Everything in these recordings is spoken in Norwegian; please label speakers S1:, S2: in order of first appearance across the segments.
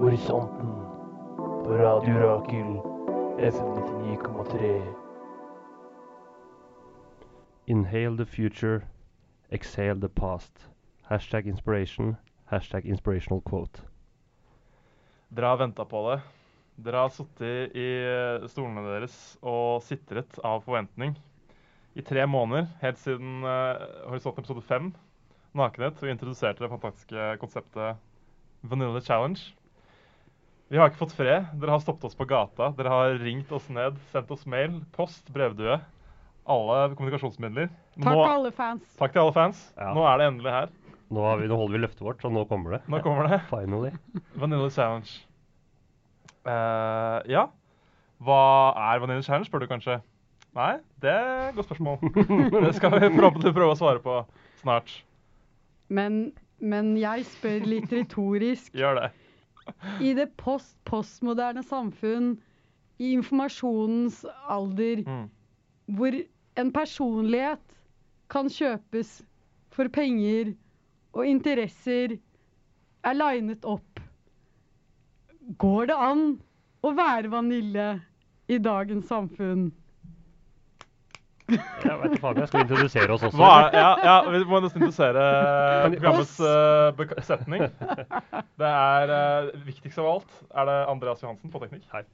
S1: Horisonten på Radio Rakel FM 99,3.
S2: Inhale the future, exhale the past. Hashtag inspiration, hashtag inspirational quote.
S3: Dere har venta på det. Dere har sittet i eh, stolene deres og sitret av forventning i tre måneder, helt siden eh, Horisont episode 5, Nakenhet, og introduserte det fantastiske konseptet Vanilla Challenge. Vi har ikke fått fred. Dere har stoppet oss på gata, dere har ringt oss ned, sendt oss mail, post, brevdue. Alle kommunikasjonsmidler.
S4: Takk,
S3: Nå-
S4: alle fans.
S3: takk til alle fans.
S2: Ja.
S3: Nå er det endelig her.
S2: Nå, har vi, nå holder vi løftet vårt, så nå kommer det.
S3: Nå kommer det.
S2: Finally.
S3: Vanilla Challenge. Eh, ja. Hva er Vanilla Challenge, spør du kanskje? Nei, det er et godt spørsmål. Det skal vi forhåpentlig prøve å svare på snart.
S4: Men, men jeg spør litt retorisk.
S3: Gjør det.
S4: I det post-postmoderne samfunn, i informasjonens alder,
S3: Mm.
S4: hvor en personlighet kan kjøpes for penger og interesser er linet opp, går det an å være vanilje i dagens samfunn?
S2: Jeg vet ikke faen, jeg skal introdusere oss også.
S3: Hva er, ja, ja, vi må nesten introdusere
S2: Kan-
S3: programmets eh, beka- setning. Det er eh, viktigst av alt er det Andreas Johansen på teknikk.
S2: Hei,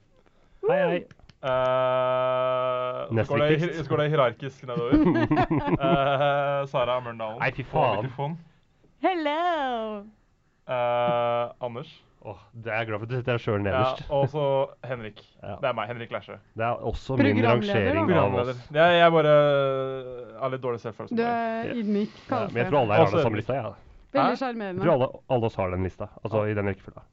S2: hei.
S3: Eh, og så
S2: Nest
S3: går det, hi-
S2: viktigst.
S3: så går det hierarkisk nedover. Eh, Sara Mørndalen
S2: Nei, fy
S3: på
S2: faen.
S3: mikrofon.
S4: Hello!
S3: Eh, Anders.
S2: Åh, det er jeg glad for at du setter deg sjøl nederst.
S3: Ja, og så Henrik.
S2: Ja.
S3: Det er meg, Henrik Læsje.
S2: Det er også min
S4: Programleder, da.
S2: rangering av
S3: Programleder.
S2: oss.
S3: Jeg, jeg bare øh, har litt dårlig selvfølelse.
S4: Du
S3: med
S4: er ydmyk,
S2: Ja, men jeg
S4: Kalfe.
S2: tror alle her har
S3: Altså-
S2: den samme lista. Ja.
S3: Hæ?
S4: Veldig
S2: Jeg tror
S4: sjarmerende.
S2: alle, alle oss har den lista, altså i den rekkefølga.
S3: deg.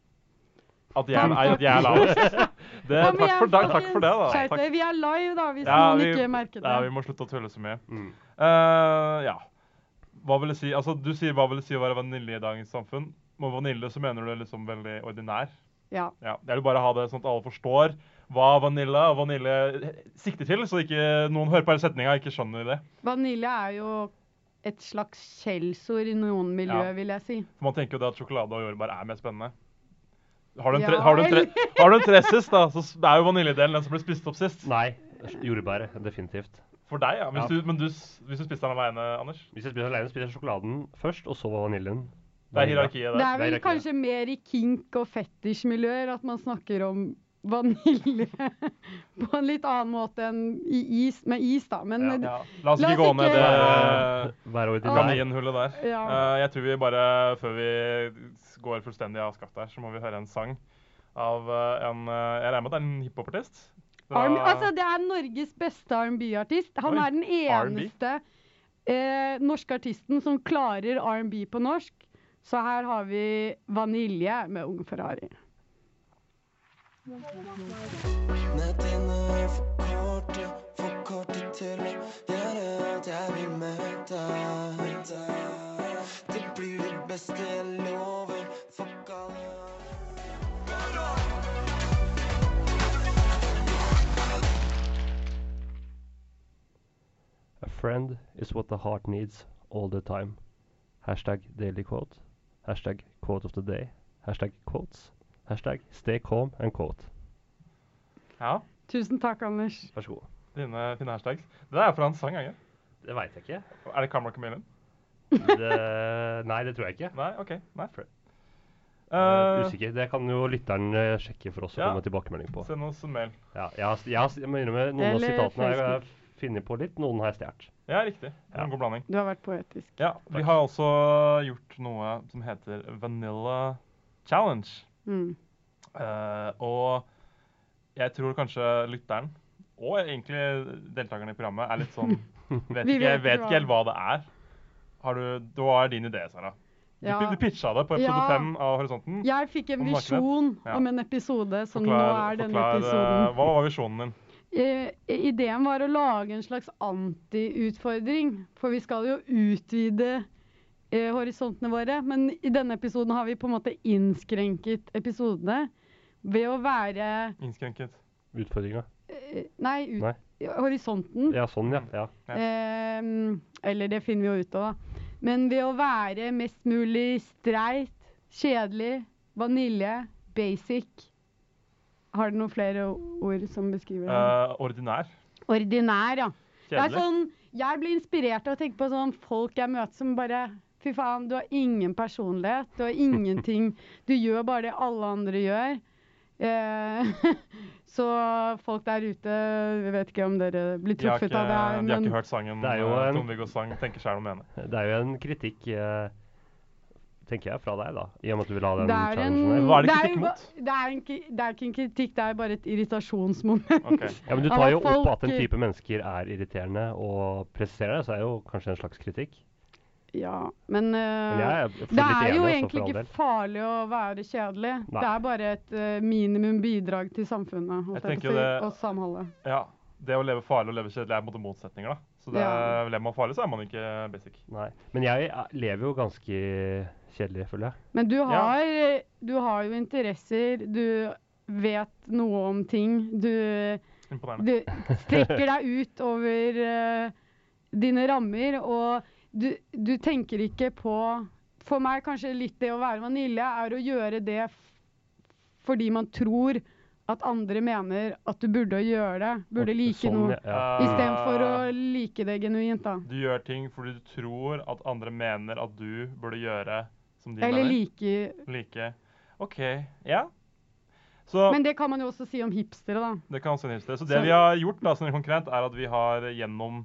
S3: At jeg, nei, at jeg er lavest. Det,
S4: Kom
S3: takk,
S4: igjen,
S3: for, takk, takk for det, da.
S4: skjerp
S3: Takk.
S4: deg. Vi er live, da, hvis
S3: Ja,
S4: noen
S3: vi-
S4: ikke merket det.
S3: Nei, vi må slutte å tulle så mye.
S2: Mm.
S3: Eh, ja. Hva vil det si? Altså, du sier hva vil det si å være vanilje i dagens samfunn? Med vanilje så mener du liksom veldig ordinær.
S4: Ja.
S3: Ja, Jeg vil bare ha det sånn at alle forstår hva vanilje og vanilje sikter til, så ikke noen hører på hele setninga og ikke skjønner det.
S4: Vanilje er jo et slags skjellsord i noen miljø,
S3: Ja.
S4: vil jeg si.
S3: For man tenker jo det at sjokolade og jordbær er mer spennende. Har du en,
S4: Ja,
S3: tre, har du en, tre, har du en tre sist, da, så s- er jo vaniljedelen den som ble spist opp sist.
S2: Nei, jordbæret. Definitivt.
S3: For deg, ja. Hvis
S2: Ja.
S3: Du, men du, s- hvis du spiste den alene, Anders.
S2: Hvis jeg spiser alene, spiser jeg sjokoladen først, og så vaniljen.
S3: Det er hierarkiet
S4: Det
S3: der.
S4: er vel
S2: det er ikke
S4: kanskje mer i kink- og fetisjmiljøer at man snakker om vanilje på en litt annen måte enn i is, med is, da. Men
S3: Ja.
S2: Ja,
S3: La oss
S4: La
S3: ikke
S4: oss
S3: gå ned
S4: ikke-
S3: det
S2: Vær ordinær.
S3: kaninhullet der.
S4: Ja.
S3: Eh, jeg tror vi bare, før vi s- går fullstendig av skaftet her, så må vi høre en sang av eh, en eh, Jeg regner med at det er en hiphopartist? Fra-
S4: R&B altså, det er Norges beste R&B-artist. Han
S3: Oi,
S4: er den eneste eh, norske artisten som klarer R&B på norsk. Så her har vi Vanilje med Ung Ferrari.
S5: Nei, denne er for korte, for korte til å gjøre at jeg vil møte deg. Det blir det beste jeg lover, fuck alle
S2: A friend is what the heart needs all the time. Hashtag daily quote. Hashtag quote of the day. Hashtag quotes. Hashtag stay calm and quote.
S3: Ja,
S4: Tusen takk, Anders.
S2: Vær så god.
S3: dine fine hashtags. Det der er fra en sang, er det?
S2: Det veit jeg ikke.
S3: Er det Camera Chameleon?
S2: Det, eh, nei, det tror jeg ikke.
S3: Nei, OK. Nei.
S2: Fred.
S3: Eh,
S2: Eh, usikker. Det kan jo lytteren eh, sjekke for oss og
S3: Ja.
S2: komme med tilbakemelding på.
S3: Send oss en mail.
S2: Ja, jeg, har, jeg, har, jeg må innrømme noen av
S4: Eller
S2: sitatene har jeg
S4: Facebook.
S2: funnet på litt. Noen har jeg stjålet.
S3: Ja, riktig. Det er
S2: Ja.
S3: En god blanding.
S4: Du har vært poetisk.
S3: Ja, Vi har også gjort noe som heter Vanilla Challenge.
S4: Mm.
S3: Eh, og jeg tror kanskje lytteren, og egentlig deltakerne i programmet, er litt sånn Vet
S4: Vi
S3: ikke,
S4: vet
S3: vet
S4: hva-
S3: ikke helt hva det er. Har du, det var din idé, Sara. Du,
S4: Ja.
S3: du pitcha det på episode
S4: Ja.
S3: fem av Horisonten.
S4: Jeg fikk en
S3: Om nakenhet.
S4: visjon
S3: Ja.
S4: om en episode som nå
S3: Forklar-
S4: er denne
S3: forklar, eh,
S4: episoden.
S3: Hva var visjonen din?
S4: Eh, ideen var å lage en slags antiutfordring, for vi skal jo utvide eh, horisontene våre. Men i denne episoden har vi på en måte innskrenket episodene ved å være
S3: Innskrenket.
S2: Utfordringa.
S4: eh, Nei, ut,
S2: Nei.
S4: horisonten.
S2: Ja, sånn, ja. ja.
S3: Ja.
S4: Eh, ehm, Eller det finner vi jo ut av, da. Men ved å være mest mulig streit, kjedelig, vanilje, basic Har du noen flere ord som beskriver det?
S3: Eh, ordinær.
S4: Ordinær, ja. Det er
S3: Kjedelig.
S4: sånn, jeg blir inspirert av å tenke på sånn folk jeg møter som bare Fy faen, du har ingen personlighet. Du har ingenting Du gjør bare det alle andre gjør. Eh, så folk der ute Jeg vet ikke om dere blir
S3: De har,
S4: truffet
S3: ikke,
S4: av det her,
S3: de har
S4: men
S3: ikke hørt sangen
S2: Det er jo
S3: eh,
S2: en-
S3: Trond-Viggo sang 'Tenker sjæl om mener'.
S2: Det er jo en kritikk, eh, tenker jeg, fra deg, da. I og med at du vil ha den
S4: det er en
S2: challengen sånn her.
S3: Hva er det
S4: jo
S3: kritikk
S4: ba-
S3: mot?
S4: Det er, en, ki- det er ikke en kritikk, det er bare et irritasjonsmoment.
S3: Ok.
S2: Ja, men du
S4: Ja,
S2: tar
S4: men
S2: jo opp
S4: folk-
S2: at en type mennesker er irriterende, og presiserer det, så er jo kanskje en slags kritikk.
S4: ja, men, eh,
S2: Men jeg er fullt
S4: Det
S2: litt
S4: er
S2: enig,
S4: jo
S2: altså,
S4: egentlig
S2: for all
S4: ikke
S2: del.
S4: farlig å være kjedelig.
S2: Nei.
S4: Det er bare et eh, minimum bidrag til samfunnet holdt
S3: Jeg
S4: jeg på
S3: tenker
S4: å si,
S3: jo det-
S4: og samholdet.
S3: Ja. Det å leve farlig og leve kjedelig er på en måte motsetninger, da. Så det,
S4: Ja.
S3: lever man farlig, så er man ikke basic.
S2: Nei. Men jeg eh, lever jo ganske kjedelig, føler jeg.
S4: Men du
S3: Ja.
S4: har, du har jo interesser, du vet noe om ting. Du,
S3: Imponerende.
S4: du strekker deg ut over eh, dine rammer, og du, du tenker ikke på For meg kanskje litt det å være vanilje er å gjøre det f fordi man tror at andre mener at du burde gjøre det. Burde
S2: Og
S4: like
S2: sånn,
S4: noe.
S2: Ja.
S4: Istedenfor å like det genuint, da.
S3: Du gjør ting fordi du tror at andre mener at du burde gjøre som de
S4: Eller
S3: mener.
S4: like
S3: Like. OK. Ja. Så
S4: Men det kan man jo også si om hipstere, da.
S3: det kan også hilse. Så
S4: Så-
S3: det vi har gjort, da, sånn konkret, er at vi har gjennom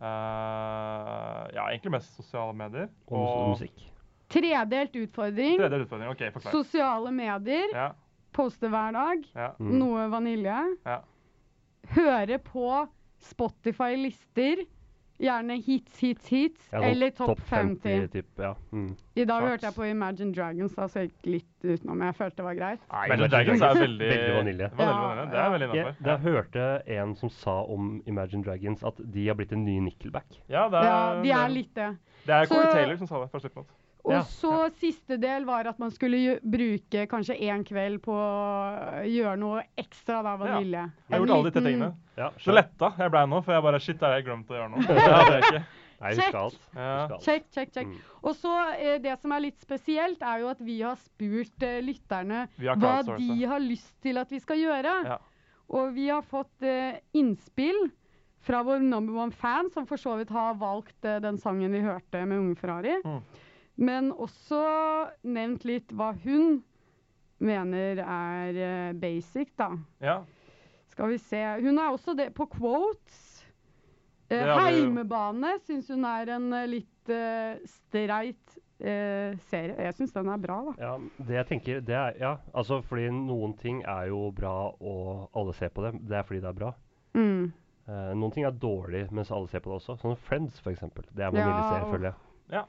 S3: eh, ja, egentlig mest sosiale medier.
S2: Og mus- og musikk.
S4: Tredelt utfordring.
S3: Tredje utfordring. OK, forklar.
S4: Sosiale medier.
S3: Ja,
S4: Poste hver dag.
S3: ja.
S2: Mm.
S4: Noe vanilje.
S3: Ja.
S4: Høre på Spotify-lister. Gjerne hits, hits, hits.
S2: Ja, sånn
S4: eller topp 50.
S2: typ, ja. Mm.
S4: I dag
S3: Charts.
S4: hørte jeg på Imagine Dragons, da, så jeg gikk litt utenom. Jeg følte det var greit.
S2: Nei,
S3: Imagine Dragons er veldig
S2: Veldig vanilje.
S3: Veldig
S4: Ja,
S3: vanilje. Det er veldig
S2: Jeg,
S3: innafor.
S2: jeg hørte en som sa om Imagine Dragons at de har blitt en ny Nickelback.
S3: Ja, det er,
S4: Ja, de
S3: det
S4: er litt det.
S3: Det er
S4: Så-
S3: Corey Taylor som sa det. Første punkt.
S4: Og
S2: Ja,
S4: så siste del var at man skulle gjø- bruke kanskje én kveld på å gjøre noe ekstra da, Mm. vanilje.
S3: Jeg har gjort alle de tre tingene.
S2: Ja,
S3: Så letta jeg blei nå, for jeg bare Shit, det har jeg glemt å gjøre nå. Det hadde jeg ikke.
S2: Nei, husk
S4: Check.
S2: alt.
S3: Ja.
S2: Husk alt.
S4: Check, check, check.
S2: Mm.
S4: Og så eh, Det som er litt spesielt, er jo at vi har spurt eh, lytterne
S3: Vi har
S4: hva
S3: crowdsourcet.
S4: de har lyst til at vi skal gjøre.
S3: Ja.
S4: Og vi har fått eh, innspill fra vår number one fan, som for så vidt har valgt eh, den sangen vi hørte med Unge Ferrari.
S3: Mm.
S4: Men også nevnt litt hva hun mener er eh, basic, da.
S3: Ja.
S4: Skal vi se. Hun er også det på quotes. Eh,
S3: Det er det jo.
S4: heimebane syns hun er en eh, litt eh, streit eh, serie. Jeg syns den er bra, da.
S2: Ja, det jeg tenker, det er Ja, altså fordi noen ting er jo bra, og alle ser på det. Det er fordi det er bra.
S4: Mm.
S2: Eh, noen ting er dårlig, mens alle ser på det også. Sånn Friends, for eksempel. Det
S4: Ja,
S2: er vaniljeserie,
S4: og-
S2: føler jeg.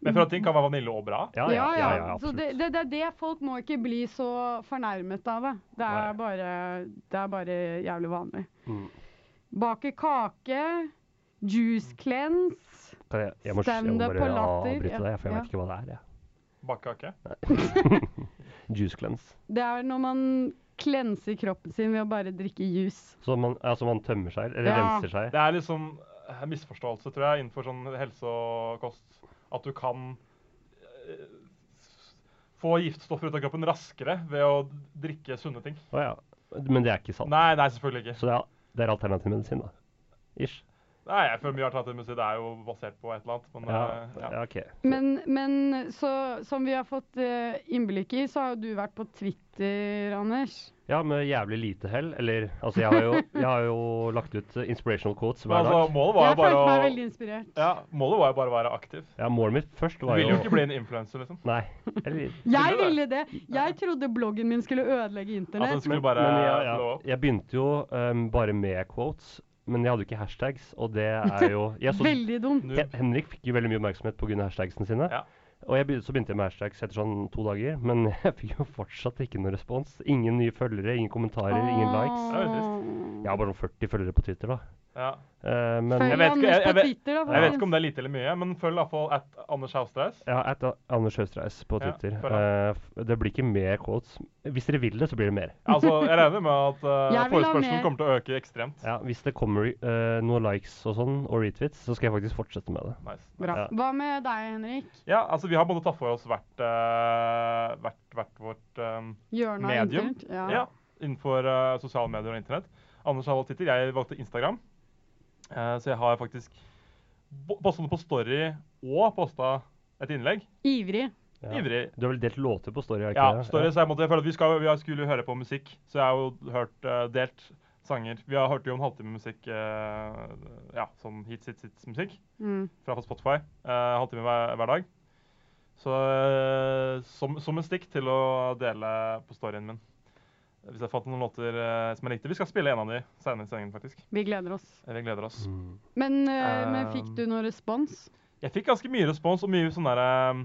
S3: Men for at ting kan være vanilje og bra.
S2: Ja, ja, ja, ja,
S4: Så
S2: absolutt.
S4: det, det, det er det folk må ikke bli så fornærmet av. da. Det
S2: Nei.
S4: er, bare, det er bare jævlig vanlig.
S2: Mm.
S4: Bake kake, juice cleanse
S2: Kan jeg, jeg, må, jeg må
S4: Stand-up
S2: bare
S4: og latter,
S2: avbryte
S4: ja,
S2: deg, for jeg
S4: ja.
S2: vet ikke hva det er. jeg.
S3: Bakkekake.
S2: Juice cleanse.
S4: Det er når man klenser kroppen sin ved å bare drikke juice.
S2: Så man, altså man tømmer seg, eller
S4: Ja.
S2: renser seg.
S3: Det er liksom en misforståelse, tror jeg, innenfor sånn helse og kost. At du kan eh, få giftstoffer ut av kroppen raskere ved å drikke sunne ting.
S2: Å ja. Men det er ikke sant.
S3: Nei, nei, selvfølgelig ikke.
S2: Så det er, det er alternativ medisin, da. Ish.
S3: Nei, jeg føler mye alternativ musikk det er jo basert på et eller annet. Men
S2: Ja,
S3: eh, ja.
S2: ja OK.
S4: Men, men så, som vi har fått eh, innblikk i, så har jo du vært på Twitter, Anders.
S2: Ja, med jævlig lite hell. Eller altså, jeg har jo, jeg har jo lagt ut eh, inspirational quotes
S3: Men
S2: hver
S3: altså,
S2: dag.
S3: målet var
S4: Jeg
S3: jo bare
S4: følte meg
S3: å
S4: veldig inspirert.
S3: ja, målet var jo bare å være aktiv.
S2: Ja, Målet mitt først
S3: Du
S2: var
S3: ville
S2: jo
S3: jo ikke bli en influenser, liksom.
S2: Nei. Eller,
S4: Jeg
S3: Ville du
S4: ville det. Jeg trodde bloggen min skulle
S3: At den
S4: ødelegge
S2: Altså,
S4: internett.
S3: skulle bare
S2: men jeg,
S3: blow
S2: jeg,
S3: up.
S2: jeg begynte jo eh, bare med quotes, men jeg hadde jo ikke hashtags, og det er jo jeg så,
S4: Veldig dumt.
S2: Hen- Henrik fikk jo veldig mye oppmerksomhet pga. hashtagsene sine.
S3: Ja.
S2: Og jeg begynte, så begynte jeg med hashtags etter sånn to dager, men jeg fikk jo fortsatt ikke noe respons. Ingen nye følgere, ingen kommentarer, ingen likes.
S3: Det er veldig
S4: Åh.
S2: Jeg har bare sånn 40 følgere på Twitter, da.
S3: Ja.
S2: Eh, men
S4: Følg
S3: Jeg vet ikke- jeg-
S4: Anders
S3: jeg
S4: på
S3: vet-
S4: Twitter, da.
S3: Jeg vet ikke om det er lite eller mye, men følg iallfall at Anders Haustreis.
S2: ja, at Anders Høstreis på
S3: Ja,
S2: Twitter.
S3: bra.
S2: Eh, f- det blir ikke mer quotes. Hvis dere vil det, så blir det mer.
S3: Altså, jeg regner med at eh,
S4: Jeg vil ha mer.
S3: forespørselen kommer til å øke ekstremt.
S2: Ja, Hvis det kommer eh, noen likes og sånn, og retweets, så skal jeg faktisk fortsette med det.
S3: Nice.
S4: Bra.
S2: Ja.
S4: Hva med deg, Henrik?
S3: Ja, altså, vi har både tatt for oss hvert, eh, hvert, hvert vårt eh,
S4: Hjørnet av
S3: Medium?
S4: internett? Ja.
S3: Ja, innenfor eh, sosiale medier og internett. Anders har valgt Twitter, jeg valgte Instagram. Eh, så jeg har faktisk bo- postet noe på Story og posta et innlegg.
S4: Ivrig.
S2: Ja.
S3: Ivrig.
S2: Du har vel delt låter på Story? har ikke
S3: Ja,
S2: det?
S3: Story, så jeg, måtte, jeg føler at vi, skal, vi skulle høre på musikk, så jeg har jo hørt eh, delt sanger. Vi har hørt jo en halvtime musikk, eh, ja, sånn hits, hits, hits musikk
S4: Mm.
S3: fra Spotify. eh, halvtime hver, hver dag. Så eh, som, som en stikk til å dele på storyen min. Hvis jeg fant noen låter eh, som jeg likte. Vi skal spille en av de senere i sendingen, faktisk.
S4: Vi gleder oss.
S3: Vi gleder oss.
S2: Mm.
S4: Men, eh, men fikk
S3: Um,
S4: du noe respons?
S3: Jeg fikk ganske mye respons og mye sånn derre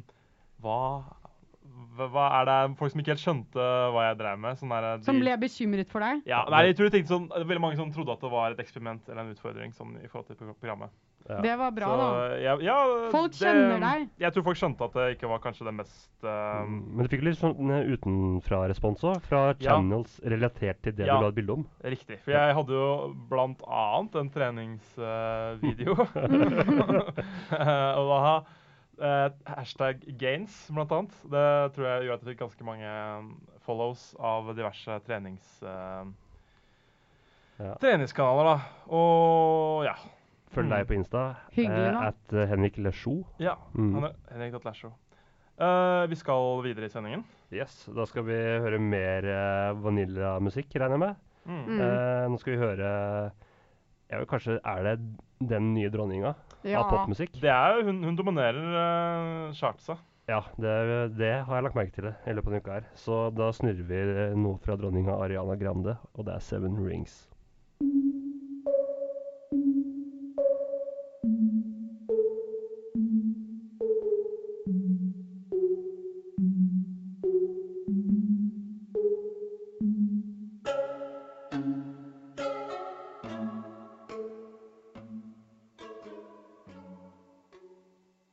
S3: hva, hva hva er det folk som ikke helt skjønte hva jeg drev med? Sånn derre
S4: Som
S3: de-
S4: ble bekymret for deg?
S3: Ja, nei, jeg tror jeg tenkte sånn, det var veldig Mange som trodde at det var et eksperiment eller en utfordring. sånn i forhold til pro- programmet.
S2: Ja.
S4: Det var bra, da.
S3: Så, ja, ja,
S4: Folk
S3: det-
S4: kjenner deg.
S3: Jeg tror folk skjønte at det ikke var kanskje det mest eh,
S2: Men du fikk litt sånn eh, utenfra-respons òg, fra
S3: Ja.
S2: channels relatert til det
S3: Ja.
S2: du la et bilde om.
S3: riktig. For jeg hadde jo blant annet en treningsvideo. og da eh, hashtag gains, blant annet. Det tror jeg gjorde at jeg fikk ganske mange eh, follows av diverse trenings... eh,
S2: Ja.
S3: Treningskanaler, da. Og ja.
S2: Følg deg på Insta.
S4: Hyggelig,
S2: eh,
S4: da.
S2: at eh, Henrik Lesjo.
S3: Ja,
S2: Mm.
S3: han er Henrik Datt Lasho. Eh, vi skal videre i sendingen.
S2: Yes, da skal vi høre mer eh, vaniljamusikk, regner jeg med.
S3: Mm.
S4: Mm.
S2: Eh, nå skal vi høre jeg vet, Kanskje er det den nye dronninga
S4: Ja.
S2: eh, av popmusikk?
S3: Det er, jo- hun, hun dominerer eh, chartsa.
S2: Ja, det, det har jeg lagt merke til i løpet av denne uka her. Så da snurrer vi eh, noe fra dronninga Ariana Grande, og det er Seven Rings.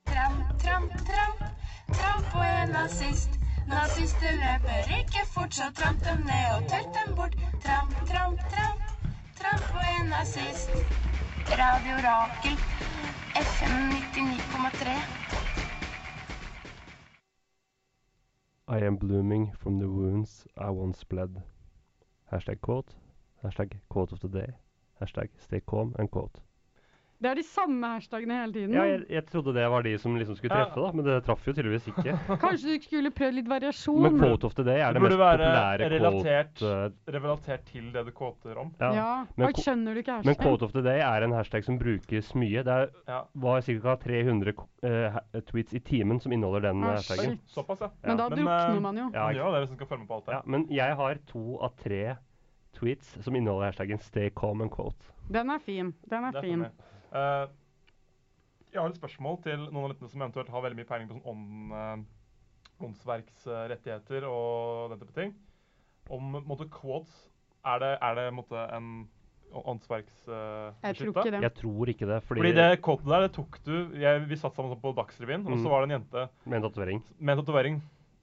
S6: Tramp, tramp, tramp. Tramp på en nazist. Nazister løper ikke fort, så tramp dem ned og tørt dem bort. Tramp, tramp, tramp. Tramp på en nazist. Radio Rakel. FM 99,3.
S2: I am blooming from the wounds I once bled. Hashtag quote. Hashtag quote of the day. Hashtag stay calm and quote.
S4: Det er de samme hashtagene hele tiden.
S2: Ja, jeg, jeg trodde det var de som liksom skulle
S3: Mm. Ja.
S2: treffe, da, men det traff jo tydeligvis ikke.
S4: Kanskje du skulle prøvd litt
S2: Men
S4: variasjon?
S2: quote of the day
S3: Mm. Det
S2: er det mest
S3: burde være
S2: populære
S3: relatert,
S2: quote. eh,
S3: relatert til det du kåter om.
S2: ja.
S4: ja.
S2: Men
S4: Oi,
S2: ko-
S4: skjønner du ikke
S2: Men
S4: hashtag?
S2: quote of the day er en hashtag som brukes mye. Det er,
S3: Ja.
S2: var ca. 300 ko- eh, ha- tweets i timen som inneholder den
S4: Ah,
S2: eh,
S4: shit.
S2: hashtaggen.
S3: Oi, Såpass, ja.
S4: Men da
S3: Men, eh,
S4: drukner man jo.
S2: Ja,
S3: Hun
S2: ikke-
S3: gjør jo det hvis hun skal følge med på alt det.
S2: ja, men jeg har to av tre tweets som inneholder hashtaggen stay calm and quote.
S4: Den er fin. Den
S3: Det
S4: er
S3: er
S4: fin.
S3: sånn det er. Eh, jeg har et spørsmål til noen av lytterne som eventuelt har veldig mye peiling på sånn ånd, eh, åndsverksrettigheter og den type ting. Om på en måte, quotes Er det, er det på en måte, en åndsverksbeskytta?
S4: Jeg tror ikke det.
S2: Jeg tror ikke det, fordi,
S3: Fordi det quoten der, det tok du jeg, Vi satt sammen sånn på Dagsrevyen, og
S2: Mm.
S3: så var det en jente
S2: med en tatovering.
S3: med en tatovering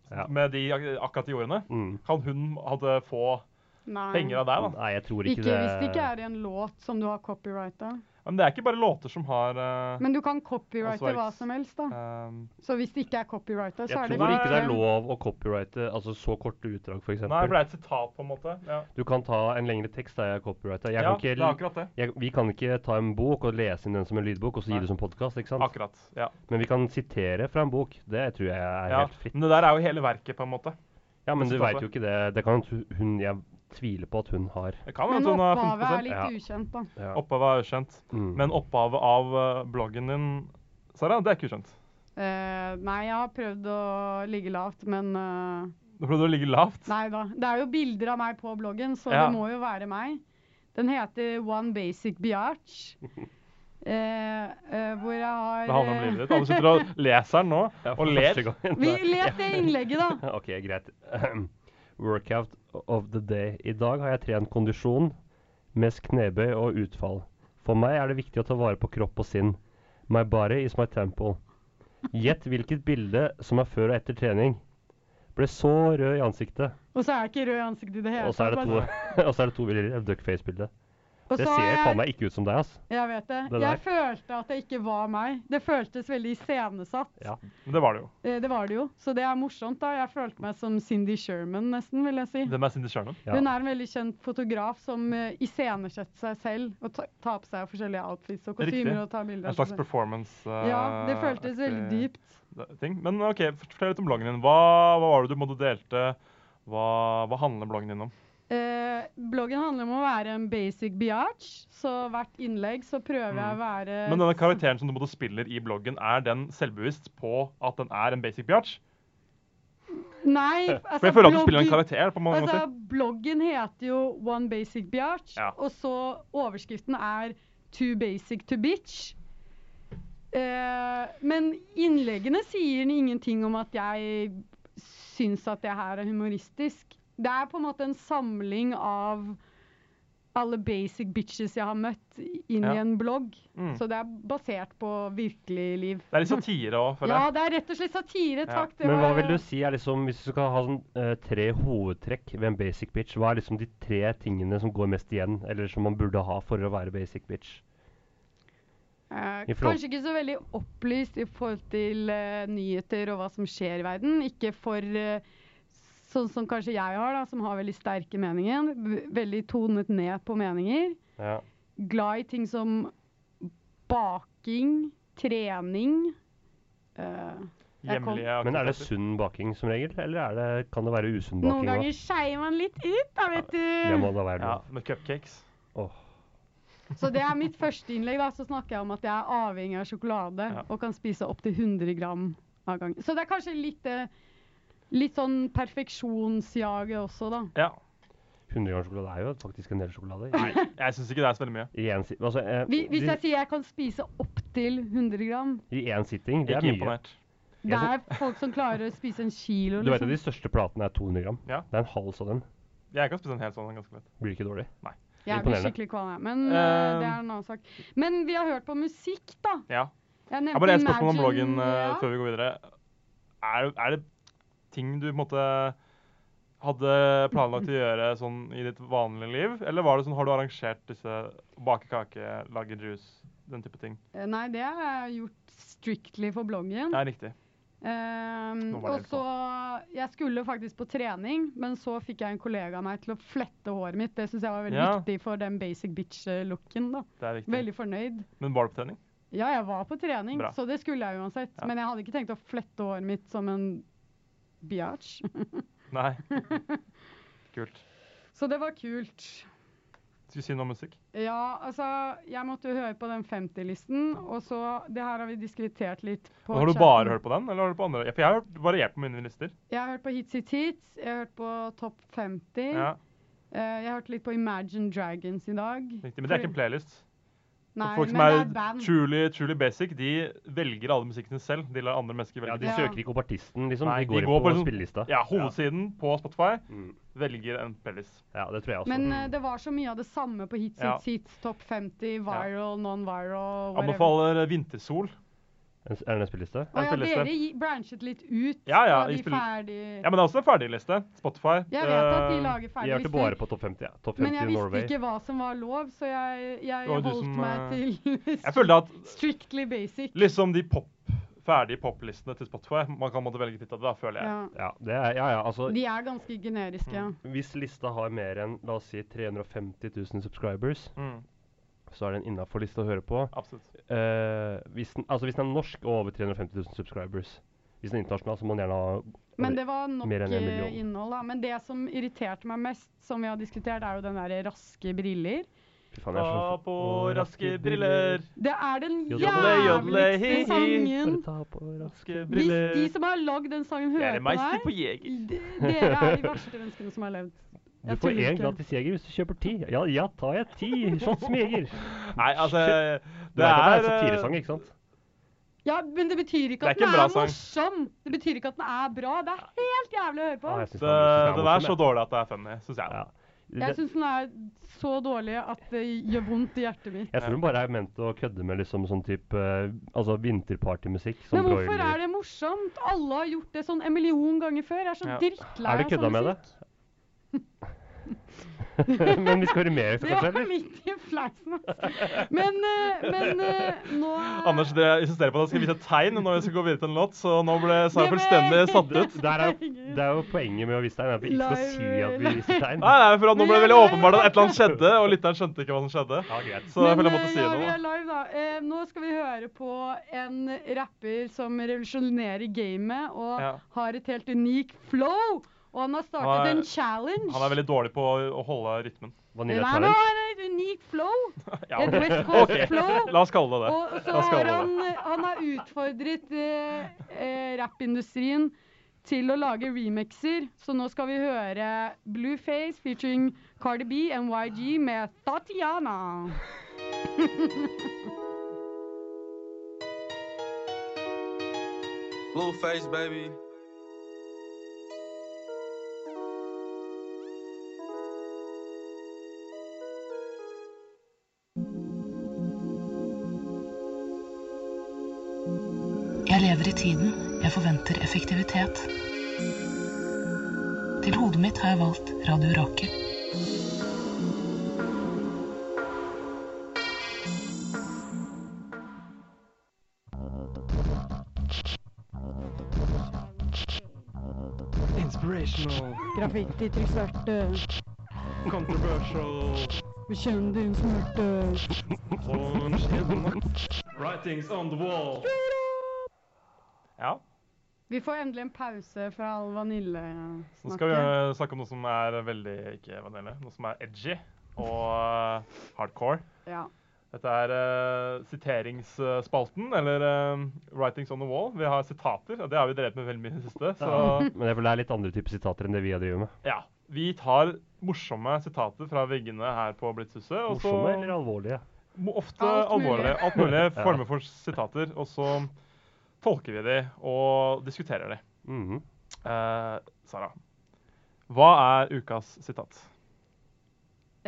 S2: Ja.
S3: med de, ak- akkurat de ordene.
S2: Mm.
S3: Kan hun hadde få
S4: Nei.
S3: penger av deg, da?
S2: Nei, jeg tror ikke,
S4: Ikke
S2: det.
S4: hvis det ikke er i en låt som du har copyrighta.
S3: Men det er ikke bare låter som har eh,
S4: Men du kan copyrighte
S3: Åndsverks-
S4: hva som helst, da.
S3: eh,
S4: Så hvis det ikke er copyrighta, så
S2: Jeg
S4: er det
S2: tror ikke det
S4: likevel-
S2: er lov å copyrighte altså så korte utdrag, f.eks.
S3: Nei, for det er et sitat, på en måte. Ja,
S2: Du kan ta en lengre tekst der jeg copyrighta. Jeg
S3: ja
S2: kan ikke,
S3: det er akkurat det.
S2: jeg, vi kan ikke ta en bok og lese inn den som en lydbok og så gi
S3: Nei.
S2: det som podkast, ikke sant?
S3: Akkurat, ja.
S2: Men vi kan sitere fra en bok. Det tror jeg er
S3: ja.
S2: helt fritt.
S3: Men det der er jo hele verket, på en måte.
S2: Ja, men du
S3: det
S2: veit
S3: stoffet.
S2: jo ikke det. Det kan hun- hun Jeg tviler på at hun har.
S3: Det kan
S4: Men
S3: hende hun har
S4: opphavet er
S3: 50
S2: Ja.
S4: litt ukjent, da.
S2: Ja.
S3: Opphavet er ukjent.
S2: Mm.
S3: Men opphavet av eh, bloggen din, Sara, det er ikke ukjent.
S4: Eh, nei, jeg har prøvd å ligge lavt, men eh,
S3: Du prøvde å ligge lavt.
S4: Nei da. Det er jo bilder av meg på bloggen, så
S3: Ja.
S4: det må jo være meg. Den heter One Basic Biatch. Eh, eh, hvor jeg har
S3: Det handler om
S4: eh,
S3: livet ditt. Alle sitter og leser den nå,
S2: Ja, for
S3: og
S2: første
S3: ler.
S2: gangen.
S4: Vi
S2: Nei.
S4: les det innlegget, da.
S2: OK, greit. Workout of the day. I dag har jeg trent kondisjon, mest knebøy og utfall. For meg er det viktig å ta vare på kropp og sinn. My body is my temple. Gjett hvilket bilde som er før og etter trening. Ble så rød i ansiktet.
S4: Og så er jeg ikke rød i ansiktet i det hele
S2: Og så er det to, og så er det to bilder av duckface-bildet.
S4: Og
S2: Det
S4: så har
S2: ser
S4: jeg-
S2: faen meg ikke ut som deg, ass.
S4: Jeg vet det. jeg
S2: Det der.
S4: følte at det ikke var meg. Det føltes veldig iscenesatt.
S2: Ja.
S3: Men det var det jo.
S4: Eh, Det var det jo. Så det er morsomt, da. Jeg følte meg som Cindy Sherman, nesten, vil jeg si.
S3: Hvem er Cindy Sherman?
S2: Ja.
S4: Hun er en veldig kjent fotograf som eh, iscenesetter seg selv og ta- tar på seg forskjellige outfits og
S3: Riktig.
S4: kostymer og tar bilder
S3: En
S4: av
S3: slags
S4: seg selv.
S3: performance eh,
S4: Ja, det føltes veldig
S3: aktig
S4: dypt.
S3: Ting. Men OK, fortell litt om bloggen din. Hva, hva var det du måtte delte? Hva, hva handler bloggen din om?
S4: Eh, bloggen handler om å være en basic biatch, så hvert innlegg så prøver jeg å være
S3: Mm. Men denne karakteren som du måtte spille i bloggen, er den selvbevisst på at den er en basic biatch?
S4: Nei, altså,
S3: For jeg føler at du spiller en
S4: bloggen-
S3: karakter på mange
S4: Altså,
S3: måter.
S4: bloggen heter jo One Basic Biatch,
S3: Ja.
S4: og så overskriften er Too Basic to Bitch. Eh, men innleggene sier ingenting om at jeg syns at det her er humoristisk. Det er på en måte en samling av alle basic bitches jeg har møtt, inn
S3: Ja.
S4: i en blogg.
S3: Mm.
S4: Så det er basert på virkelig liv.
S3: Det er litt satire òg, føler
S4: Ja,
S3: jeg.
S4: det er rett og slett satire.
S3: Ja.
S4: Takk. Det
S2: Men hva
S4: var-
S2: vil du si er liksom, hvis du skal ha sånn eh, tre hovedtrekk ved en basic bitch, hva er liksom de tre tingene som går mest igjen, eller som man burde ha for å være basic bitch?
S4: Eh,
S2: I forhold-
S4: kanskje ikke så veldig opplyst i forhold til eh, nyheter og hva som skjer i verden. Ikke for eh, sånn som kanskje jeg har, da, som har veldig sterke meninger. v- Veldig tonet ned på meninger.
S2: Ja.
S4: Glad i ting som baking, trening. eh, jeg kom-
S3: Hjemlige
S2: Men er det
S3: aktiviteter.
S2: sunn baking som regel, eller er det, kan det være usunn
S4: noen
S2: baking
S4: ganger
S2: òg?
S4: skeier man litt ut, da, vet
S2: Det må
S4: du.
S2: da være
S3: Ja,
S2: lov.
S3: med cupcakes.
S4: Så det er mitt første innlegg. da, Så snakker jeg om at jeg er avhengig av sjokolade
S3: Ja.
S4: og kan spise opptil 100 gram av gangen. Så det er kanskje litt, eh, litt sånn perfeksjonsjaget også, da.
S3: Ja.
S2: 100 gram sjokolade er jo faktisk en del sjokolade.
S3: Nei, jeg syns ikke det er så veldig mye.
S2: I én si altså, eh,
S4: Hvi- Hvis
S2: de-
S4: jeg sier jeg kan spise opptil 100 gram
S2: i én sitting, det
S3: Ikke
S2: er mye.
S3: imponert.
S4: Det er folk som klarer å spise en kilo,
S2: Du vet at
S4: liksom.
S2: de største platene er 200 gram?
S3: Ja.
S2: Det er en halv sånn en.
S3: Jeg kan spise en hel sånn ganske lett.
S2: Blir ikke dårlig.
S4: Jeg blir
S2: imponerende.
S4: skikkelig kvalm, jeg. Men eh, det er en annen sak. Men vi har hørt på musikk, da.
S3: Ja.
S4: Jeg
S3: Jeg har
S4: nevnte
S3: bare ett spørsmål om
S4: Imagine-
S3: bloggen eh,
S4: ja.
S3: før vi går videre. Er, er det ting du på en måte hadde planlagt å gjøre sånn i ditt vanlige liv? Eller var det sånn, har du arrangert disse bake kake, lage juice, den type ting?
S4: Eh, Nei, det har jeg gjort strictly for bloggen.
S3: Ja, riktig.
S4: Ehm,
S3: Nå var det helt
S4: og så, Jeg skulle faktisk på trening, men så fikk jeg en kollega av meg til å flette håret mitt. Det syns jeg var veldig
S3: Ja.
S4: viktig for den basic bitch-looken. da.
S3: Det er riktig.
S4: Veldig fornøyd.
S3: Men var det på trening?
S4: Ja, jeg var på trening,
S3: Bra.
S4: så det skulle jeg uansett.
S3: Ja.
S4: Men jeg hadde ikke tenkt å flette håret mitt som en biatch.
S3: Nei. Kult.
S4: så det var kult.
S3: Skal vi si noe om musikk?
S4: Ja, altså Jeg måtte jo høre på den 50-listen, og så Det her har vi diskutert litt på
S3: Har du
S4: chatten.
S3: bare hørt på den, eller har du på andre? Ja, For jeg har hørt variert på mine lister.
S4: Jeg har hørt på Hits Hits Hits, jeg har hørt på Topp 50.
S3: Ja,
S4: Eh, jeg hørte litt på Imagine Dragons i dag.
S3: riktig. Men det er ikke en playlist.
S4: Nei,
S3: Folk som
S4: men
S3: er
S4: det er band.
S3: truly, truly basic, de velger alle musikkene selv. De lar andre mennesker
S2: Ja,
S3: velge.
S2: De
S4: Ja.
S2: søker ikke opp artisten, liksom.
S3: Nei,
S2: de går, inn på
S3: liksom-
S2: spillelista.
S3: Ja, hovedsiden på Spotify
S2: Mm.
S3: velger en playlist.
S2: ja, det tror jeg også. Mm.
S4: Men eh, det var så mye av det samme på Hits
S3: Ja.
S4: Hits Hits, Topp 50, viral, non-viral whatever.
S3: Anbefaler eh, Vintersol.
S2: En- Er det en spilleliste?
S4: Å ja,
S3: spilleliste.
S4: dere gi- branchet litt ut.
S3: Ja, ja,
S4: og
S3: i
S4: de
S3: spill-
S4: ferdig...
S3: Ja, men det er også en ferdigliste. Spotify.
S4: Jeg vet at de
S3: Eh,
S4: lager
S2: Jeg hørte
S4: ferdiglister,
S2: bare på topp 50. Ja. Topp
S4: men
S2: 50
S4: jeg visste
S2: Norway.
S4: ikke hva som var lov, så jeg,
S3: Det
S4: jeg
S3: var jo du
S4: holdt
S3: som,
S4: meg
S3: eh,
S4: til
S3: Jeg føler at
S4: strictly basic.
S3: liksom de pop, ferdige poplistene til Spotify Man kan måtte velge litt av det, da, føler jeg.
S4: Ja.
S2: Ja, det er, ja, ja, altså
S4: De er ganske generiske. ja.
S3: Mm.
S2: Hvis lista har mer enn la oss si 350 000 subscribers,
S3: Mm,
S2: så er den innafor lista å høre på.
S3: absolutt.
S2: Eh, hvis, den, altså, hvis den er norsk og over 350 000 subscribers Hvis den er internasjonal, så må den gjerne ha
S4: Men det var nok
S2: Mer enn en
S4: eh,
S2: million.
S4: innhold. da. Men det som irriterte meg mest, som vi har diskutert, er jo den derre raske briller.
S2: Fy faen, jeg er
S3: Ta
S2: så-
S3: på
S2: Å,
S3: raske briller,
S4: Det er den
S2: Jodle,
S3: jodle, hi, hi.
S4: jævligste
S2: Bare
S4: sangen!
S2: ta på raske
S3: raske
S4: Hvis de
S3: briller.
S4: som har lagd den sangen,
S3: Det er
S4: hører
S3: det
S4: på
S3: meister
S4: deg
S3: på jeger.
S4: d- Dere er de verste menneskene som har levd.
S2: Du
S4: Jeg
S2: får
S4: tuller
S2: én
S4: ikke.
S2: gratis jeger hvis du kjøper ti. Ja, ja tar jeg ti shots med jeger.
S3: Nei, altså
S2: Det er, det er en
S3: eh,
S2: satiresang, ikke sant?
S4: Ja, Men det betyr ikke
S3: Det er
S4: at
S3: ikke en
S4: den
S3: bra
S4: er
S3: sang.
S4: morsom! Det betyr ikke at den er bra. Det er helt jævlig å høre på.
S2: Ja, Ah, jeg synes
S3: eh, Det,
S2: den- jeg synes den
S3: den er så
S2: morsom, jeg.
S3: dårlig at det er funny, syns jeg.
S2: Ja. Det-
S4: Jeg syns den er så dårlig at det gjør vondt i hjertet mitt.
S2: Jeg tror hun bare er ment å kødde med liksom sånn type eh, Altså vinterpartymusikk. som
S4: Men hvorfor
S2: broiler.
S4: er det morsomt? Alle har gjort det sånn en million ganger før. Jeg er så
S3: Ja.
S4: drittlei
S2: Er det kødda med det? Men vi skal høre mer,
S4: Det
S2: kanskje?
S4: var
S2: eller?
S4: midt i fleisen. altså. Men, eh, men eh, nå
S3: Anders, dere insisterer på at jeg skal vise et tegn når vi skal gå videre til en låt, så nå ble Sara
S4: Det ble-
S3: fullstendig satt ut.
S2: Der er, jo, det er jo poenget med å vise tegn. er At vi ikke skal si at vi viser tegn.
S3: Nei, nei, for at nå ble det veldig åpenbart at et eller annet skjedde, og lytteren skjønte ikke hva som skjedde.
S2: Ja, greit.
S3: Så jeg
S4: Men,
S3: føler jeg måtte
S4: eh,
S3: si
S4: ja, vi
S3: noe.
S4: er live, da. Eh, nå skal vi høre på en rapper som revolusjonerer gamet og
S3: Ja.
S4: har et helt unik flow. Og han har startet
S3: Han er-
S4: en challenge.
S3: Han er veldig dårlig på å å holde rytmen.
S4: Nei,
S2: Vanilla
S4: men han
S2: challenge.
S4: har et unikt flow.
S3: Ja,
S4: Et West
S3: ok.
S4: Coast-flow.
S3: La oss kalle det det.
S4: Og så
S3: La oss
S4: har
S3: kalle
S4: han,
S3: det det.
S4: han har utfordret eh, eh, rappindustrien til å lage remixer. Så nå skal vi høre Blueface featuring Cardi B and YG med Tatiana.
S5: Blueface, baby.
S7: Jeg lever i tiden. Jeg forventer effektivitet. Til hodet mitt har jeg valgt Radio Rakel.
S3: Inspirational,
S4: Graffiti til svarte,
S3: controversial,
S4: bekjenn din smerte.
S3: orange writings on the wall. Ja,
S4: Vi får endelig en pause fra all
S3: så skal vi
S4: vaniljesnakket.
S3: eh, snakke om noe som er veldig ikke vanilje, noe som er edgy og eh, hardcore.
S4: Ja.
S3: Dette er eh, siteringsspalten, eller eh, Writings on the Wall. Vi har sitater, og det har vi drevet med veldig mye i det siste. Så
S2: Men jeg føler det er litt andre typer sitater enn det vi har drevet med.
S3: ja, vi tar morsomme sitater fra veggene her på Blitzhuset. Og så
S2: Morsomme eller alvorlige?
S3: mo- ofte
S4: Alt mulig.
S3: alvorlige, alt mulig former for sitater. Og så tolker vi de og diskuterer de.
S2: Mhm.
S3: Eh, Sara, hva er ukas sitat?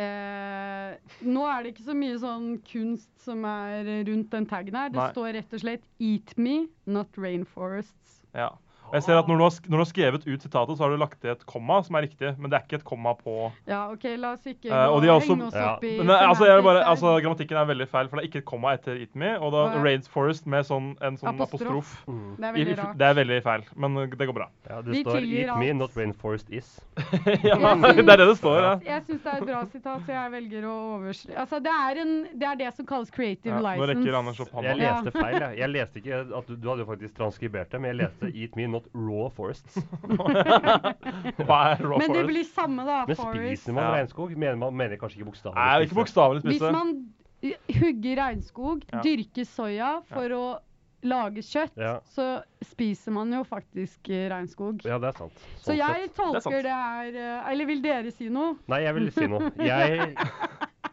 S4: Eh, nå er det ikke så mye sånn kunst som er rundt den taggen her. Det
S3: Nei.
S4: står rett og slett 'Eat me, not rainforests'.
S3: Ja. Og jeg ser at når du, har sk når du har skrevet ut sitatet, så har du lagt til et komma som er riktig, men det er ikke et komma på
S4: Ja, OK, la oss ikke
S3: Eh,
S4: gå-
S3: og de har også-
S4: henge oss
S2: ja.
S4: opp i
S3: Men det, altså, jeg vil bare,
S4: semantics her.
S3: altså, grammatikken er veldig feil, for det er ikke et komma etter Eat Me. Og da
S4: Å, ja.
S3: Rainforest med sånn, en sånn apostrof.
S4: Apostrof.
S2: Mhm.
S4: Det er
S3: I- i-
S4: veldig rart.
S3: det er veldig feil, men eh, det går bra.
S2: Ja, det
S4: Vi
S2: står
S4: tilgir
S2: 'Eat me,
S4: alt.
S2: not rainforest is'.
S3: ja,
S4: Jeg
S3: det er det det står. Ja.
S4: Jeg syns det er et bra sitat, så jeg velger å overstre... Altså, det er, en, det er det som kalles creative
S3: Ja, nå
S4: license.
S3: rekker Anders opp
S2: Jeg
S3: hånda.
S4: Ja.
S2: leste feil. Jeg, jeg leste ikke at du, du hadde jo faktisk transkribert det, men jeg leste 'Eat me, not raw forests'.
S3: Hva er raw
S4: Men det
S3: forest?
S4: blir samme, da.
S2: Men
S4: Forest.
S2: spiser man
S3: Ja.
S2: regnskog? Mener man mener kanskje ikke bokstavelig?
S3: Nei, det er ikke
S2: spise.
S3: bokstavelig
S4: Hvis
S3: spise.
S4: man hugger regnskog,
S3: Ja.
S4: dyrker soya for å lage kjøtt,
S2: Ja.
S4: så spiser man jo faktisk eh, regnskog.
S2: Ja, det er sant.
S4: Så
S2: Sånn
S4: jeg
S2: sett.
S3: Det er sant.
S4: tolker det her eh, Eller vil dere si noe?
S2: Nei, jeg vil si noe. Jeg,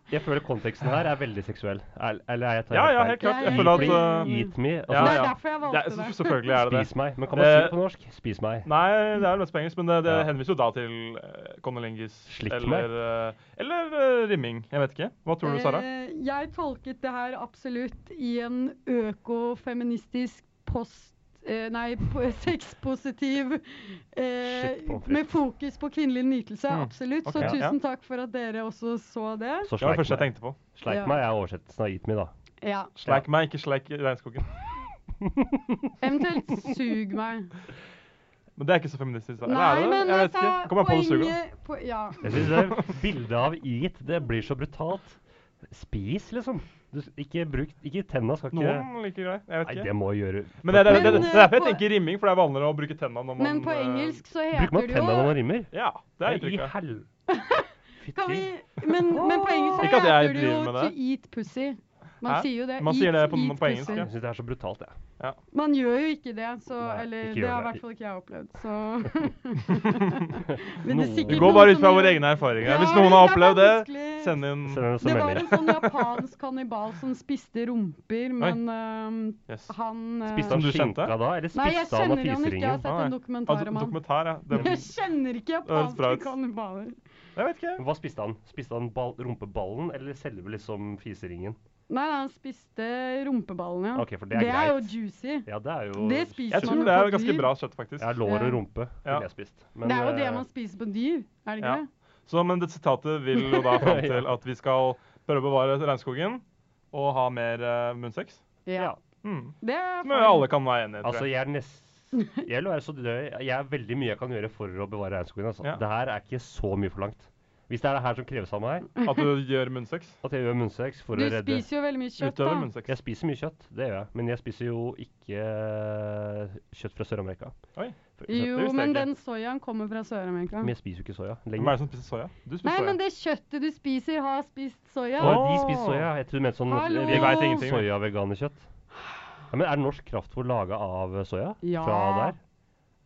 S2: jeg føler konteksten her er veldig seksuell. Er, eller er jeg
S3: Ja, ja, helt klart.
S4: Jeg
S3: Jeg føler
S2: Fordi
S3: at uh,
S4: eh,
S2: Eat me.
S3: Ja,
S4: det
S2: Altså,
S4: er
S3: ja.
S4: derfor jeg
S3: det
S4: valgte
S3: er,
S4: det.
S3: så- Selvfølgelig er det det.
S2: Spis meg. Men kan man si det
S3: Det-
S2: på norsk? Spis meg.
S3: Nei, det er vel mest på engelsk, men det, det
S2: Ja.
S3: henviser jo da til uh, Konolingis
S2: Slikk
S3: eller, uh, eller uh, rimming. Jeg vet ikke. Hva tror du, Sara?
S4: Eh, Jeg tolket det her absolutt i en økofeministisk post... eh, Nei, po- sexpositiv eh,
S2: Shit, pommes frites.
S4: Med fokus på kvinnelig nytelse.
S3: Mm,
S4: Absolutt.
S3: ok.
S4: Så
S2: Ja,
S3: ja.
S4: tusen takk for at dere også så det.
S2: Så
S3: Det var
S2: sleik
S3: det første jeg
S2: meg.
S3: tenkte på.
S2: Sleik
S4: Ja.
S2: meg er oversettelsen av eat me, da.
S4: Ja.
S3: Sleik meg, ikke sleik regnskogen.
S4: Eventuelt sug meg.
S3: Men det er ikke så feministisk. da. Eller er
S4: Nei,
S3: det det?
S4: men
S3: jeg vet
S4: altså
S3: ikke. Kommer jeg på det suger, da?
S4: po- Ja.
S2: Jeg synes det Bildet av eat, det blir så brutalt. Spis, liksom. Du, ikke bruk Ikke tenna skal ikke
S3: Noen liker greit. Jeg
S2: Nei,
S3: vet
S2: det
S3: ikke.
S2: må gjøre
S3: Men det, det, det, det,
S4: Men,
S3: det er derfor jeg
S4: eh, på-
S3: tenker rimming, for det er vanligere å bruke tenna når man
S4: Men på
S3: eh,
S4: engelsk så
S2: Bruker
S4: heter
S2: man
S4: det
S2: tenna når
S4: jo
S2: man rimmer?
S3: Ja, det er
S2: I
S3: inntrykket.
S2: hel...
S4: Kan vi,
S2: Fytti.
S4: men, men på engelsk så
S3: Ikke at jeg
S4: heter det jo
S3: driver med
S4: 'to
S3: det.
S4: eat pussy'. Man
S3: Hæ?
S4: sier jo det.
S3: Man sier det på- på engelsk,
S4: pussy.
S2: Jeg syns det er så brutalt, jeg.
S4: Man gjør jo ikke det, så
S2: Nei,
S4: Eller
S2: ikke
S4: det
S2: gjør
S4: har i
S2: det.
S4: hvert fall ikke jeg opplevd, så Men det er sikkert
S3: Vi går bare
S4: noen
S3: ut
S4: som
S3: fra våre
S4: gjør-
S3: egne erfaringer.
S4: Ja,
S3: Hvis
S4: men
S3: noen
S4: det
S3: har
S4: er
S3: opplevd det,
S4: vanskelig.
S3: send inn
S2: Sender oss
S4: Det
S2: en
S4: var
S2: melding.
S4: en sånn japansk kannibal som spiste rumper, men øhm,
S3: yes.
S4: han øh,
S2: Spiste
S3: Som
S2: han
S3: du kjente?
S2: skinka da, eller
S4: Nei, jeg
S2: spiste han av
S4: kjenner han ikke. Jeg har
S2: fiseringen?
S4: sett
S3: Nei.
S4: en
S3: Altså,
S4: dokumentar om han.
S3: dokumentar, ja. Det,
S4: Jeg kjenner ikke
S3: høres bra
S4: japanske
S3: ut.
S4: kannibaler.
S3: Jeg vet ikke.
S2: Hva spiste han? Spiste han ball, rumpeballen eller selve liksom fiseringen?
S4: Nei, nei, han spiste rumpeballen, ja.
S2: Ok, for det er
S4: jo
S2: greit.
S4: juicy.
S2: Ja, det er jo
S4: Det spiser
S3: Jeg tror
S4: man jo
S3: det er
S4: på
S3: ganske
S4: dyr.
S3: bra kjøtt, faktisk.
S2: Ja, lår og
S4: Ja.
S2: rumpe
S3: Ja.
S2: ville jeg spist. Men,
S4: det er jo det
S2: eh,
S4: man spiser på dyr, er det ikke
S3: ja.
S4: det?
S3: Så, men det sitatet vil jo da fram til at vi skal prøve å bevare regnskogen og ha mer eh, munnsex.
S2: ja.
S3: Hmm.
S4: Det er
S3: Som jo alle kan være enig i,
S2: Altså,
S3: tror jeg.
S2: jeg er nest... Jeg vil være så død. Jeg er veldig mye jeg kan gjøre for å bevare regnskogen. Altså.
S3: Ja.
S2: Det her er ikke så mye forlangt. Hvis det er det her som kreves av meg,
S3: At du gjør munnsex.
S2: at jeg gjør munnsex for
S4: Du
S2: å redde
S4: spiser jo veldig mye kjøtt,
S3: Utøver
S4: da.
S3: munnsex.
S2: Jeg spiser mye kjøtt, det gjør jeg. Men jeg spiser jo ikke eh, kjøtt fra Sør-Amerika.
S3: Oi.
S2: For eksempel.
S4: Jo,
S3: visste jeg
S4: men
S3: ikke.
S4: den soyaen kommer fra Sør-Amerika.
S2: Men jeg spiser jo ikke soya
S3: Hvem er det
S2: lenger.
S3: som spiser soya? Du spiser
S4: Nei,
S3: soya.
S4: men det kjøttet du spiser, har spist soya.
S2: Å, de spiser soya. Jeg tror du mente sånn
S4: Hallo!
S2: eh,
S4: Vi vet
S3: ingenting, vi.
S2: soyaveganerkjøtt. Ja, men er norsk kraftfôr laga av eh, soya?
S4: Ja.
S2: Fra der?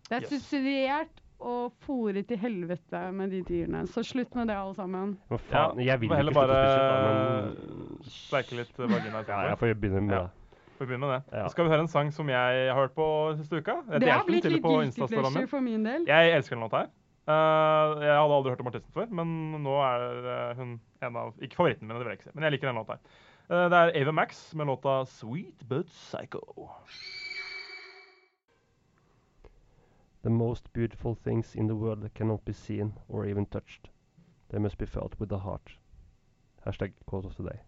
S4: Det er
S3: Yes.
S4: subsidiert og fôret til helvete med de dyrene. Så slutt med det, alle sammen.
S2: Men faen, jeg vil
S3: får
S2: jo
S3: heller
S2: ikke slutte å spise kjøtt, da, men
S3: bare sleike litt eh, vagina
S2: ja,
S3: etterpå.
S2: jeg får begynne med
S3: Ja.
S2: det.
S3: Får begynne med det.
S2: Ja.
S3: Så skal vi høre en sang som jeg har hørt på siste uka. Jeg
S4: Det
S3: delte
S4: har
S3: den
S4: blitt
S3: tidlig
S4: litt
S3: på
S4: guilty
S3: Insta-storyen min.
S4: pleasure for min del.
S3: Jeg elsker den låta her. Eh, jeg hadde aldri hørt om artisten før, men nå er eh, hun en av Ikke favoritten min, det vil jeg ikke si, men jeg liker den låta her. Eh, det er Ava Max med låta 'Sweet But Psycho'.
S2: The most beautiful things in the world cannot be seen or even touched. They must be felt with the heart. Hashtag quote of the day.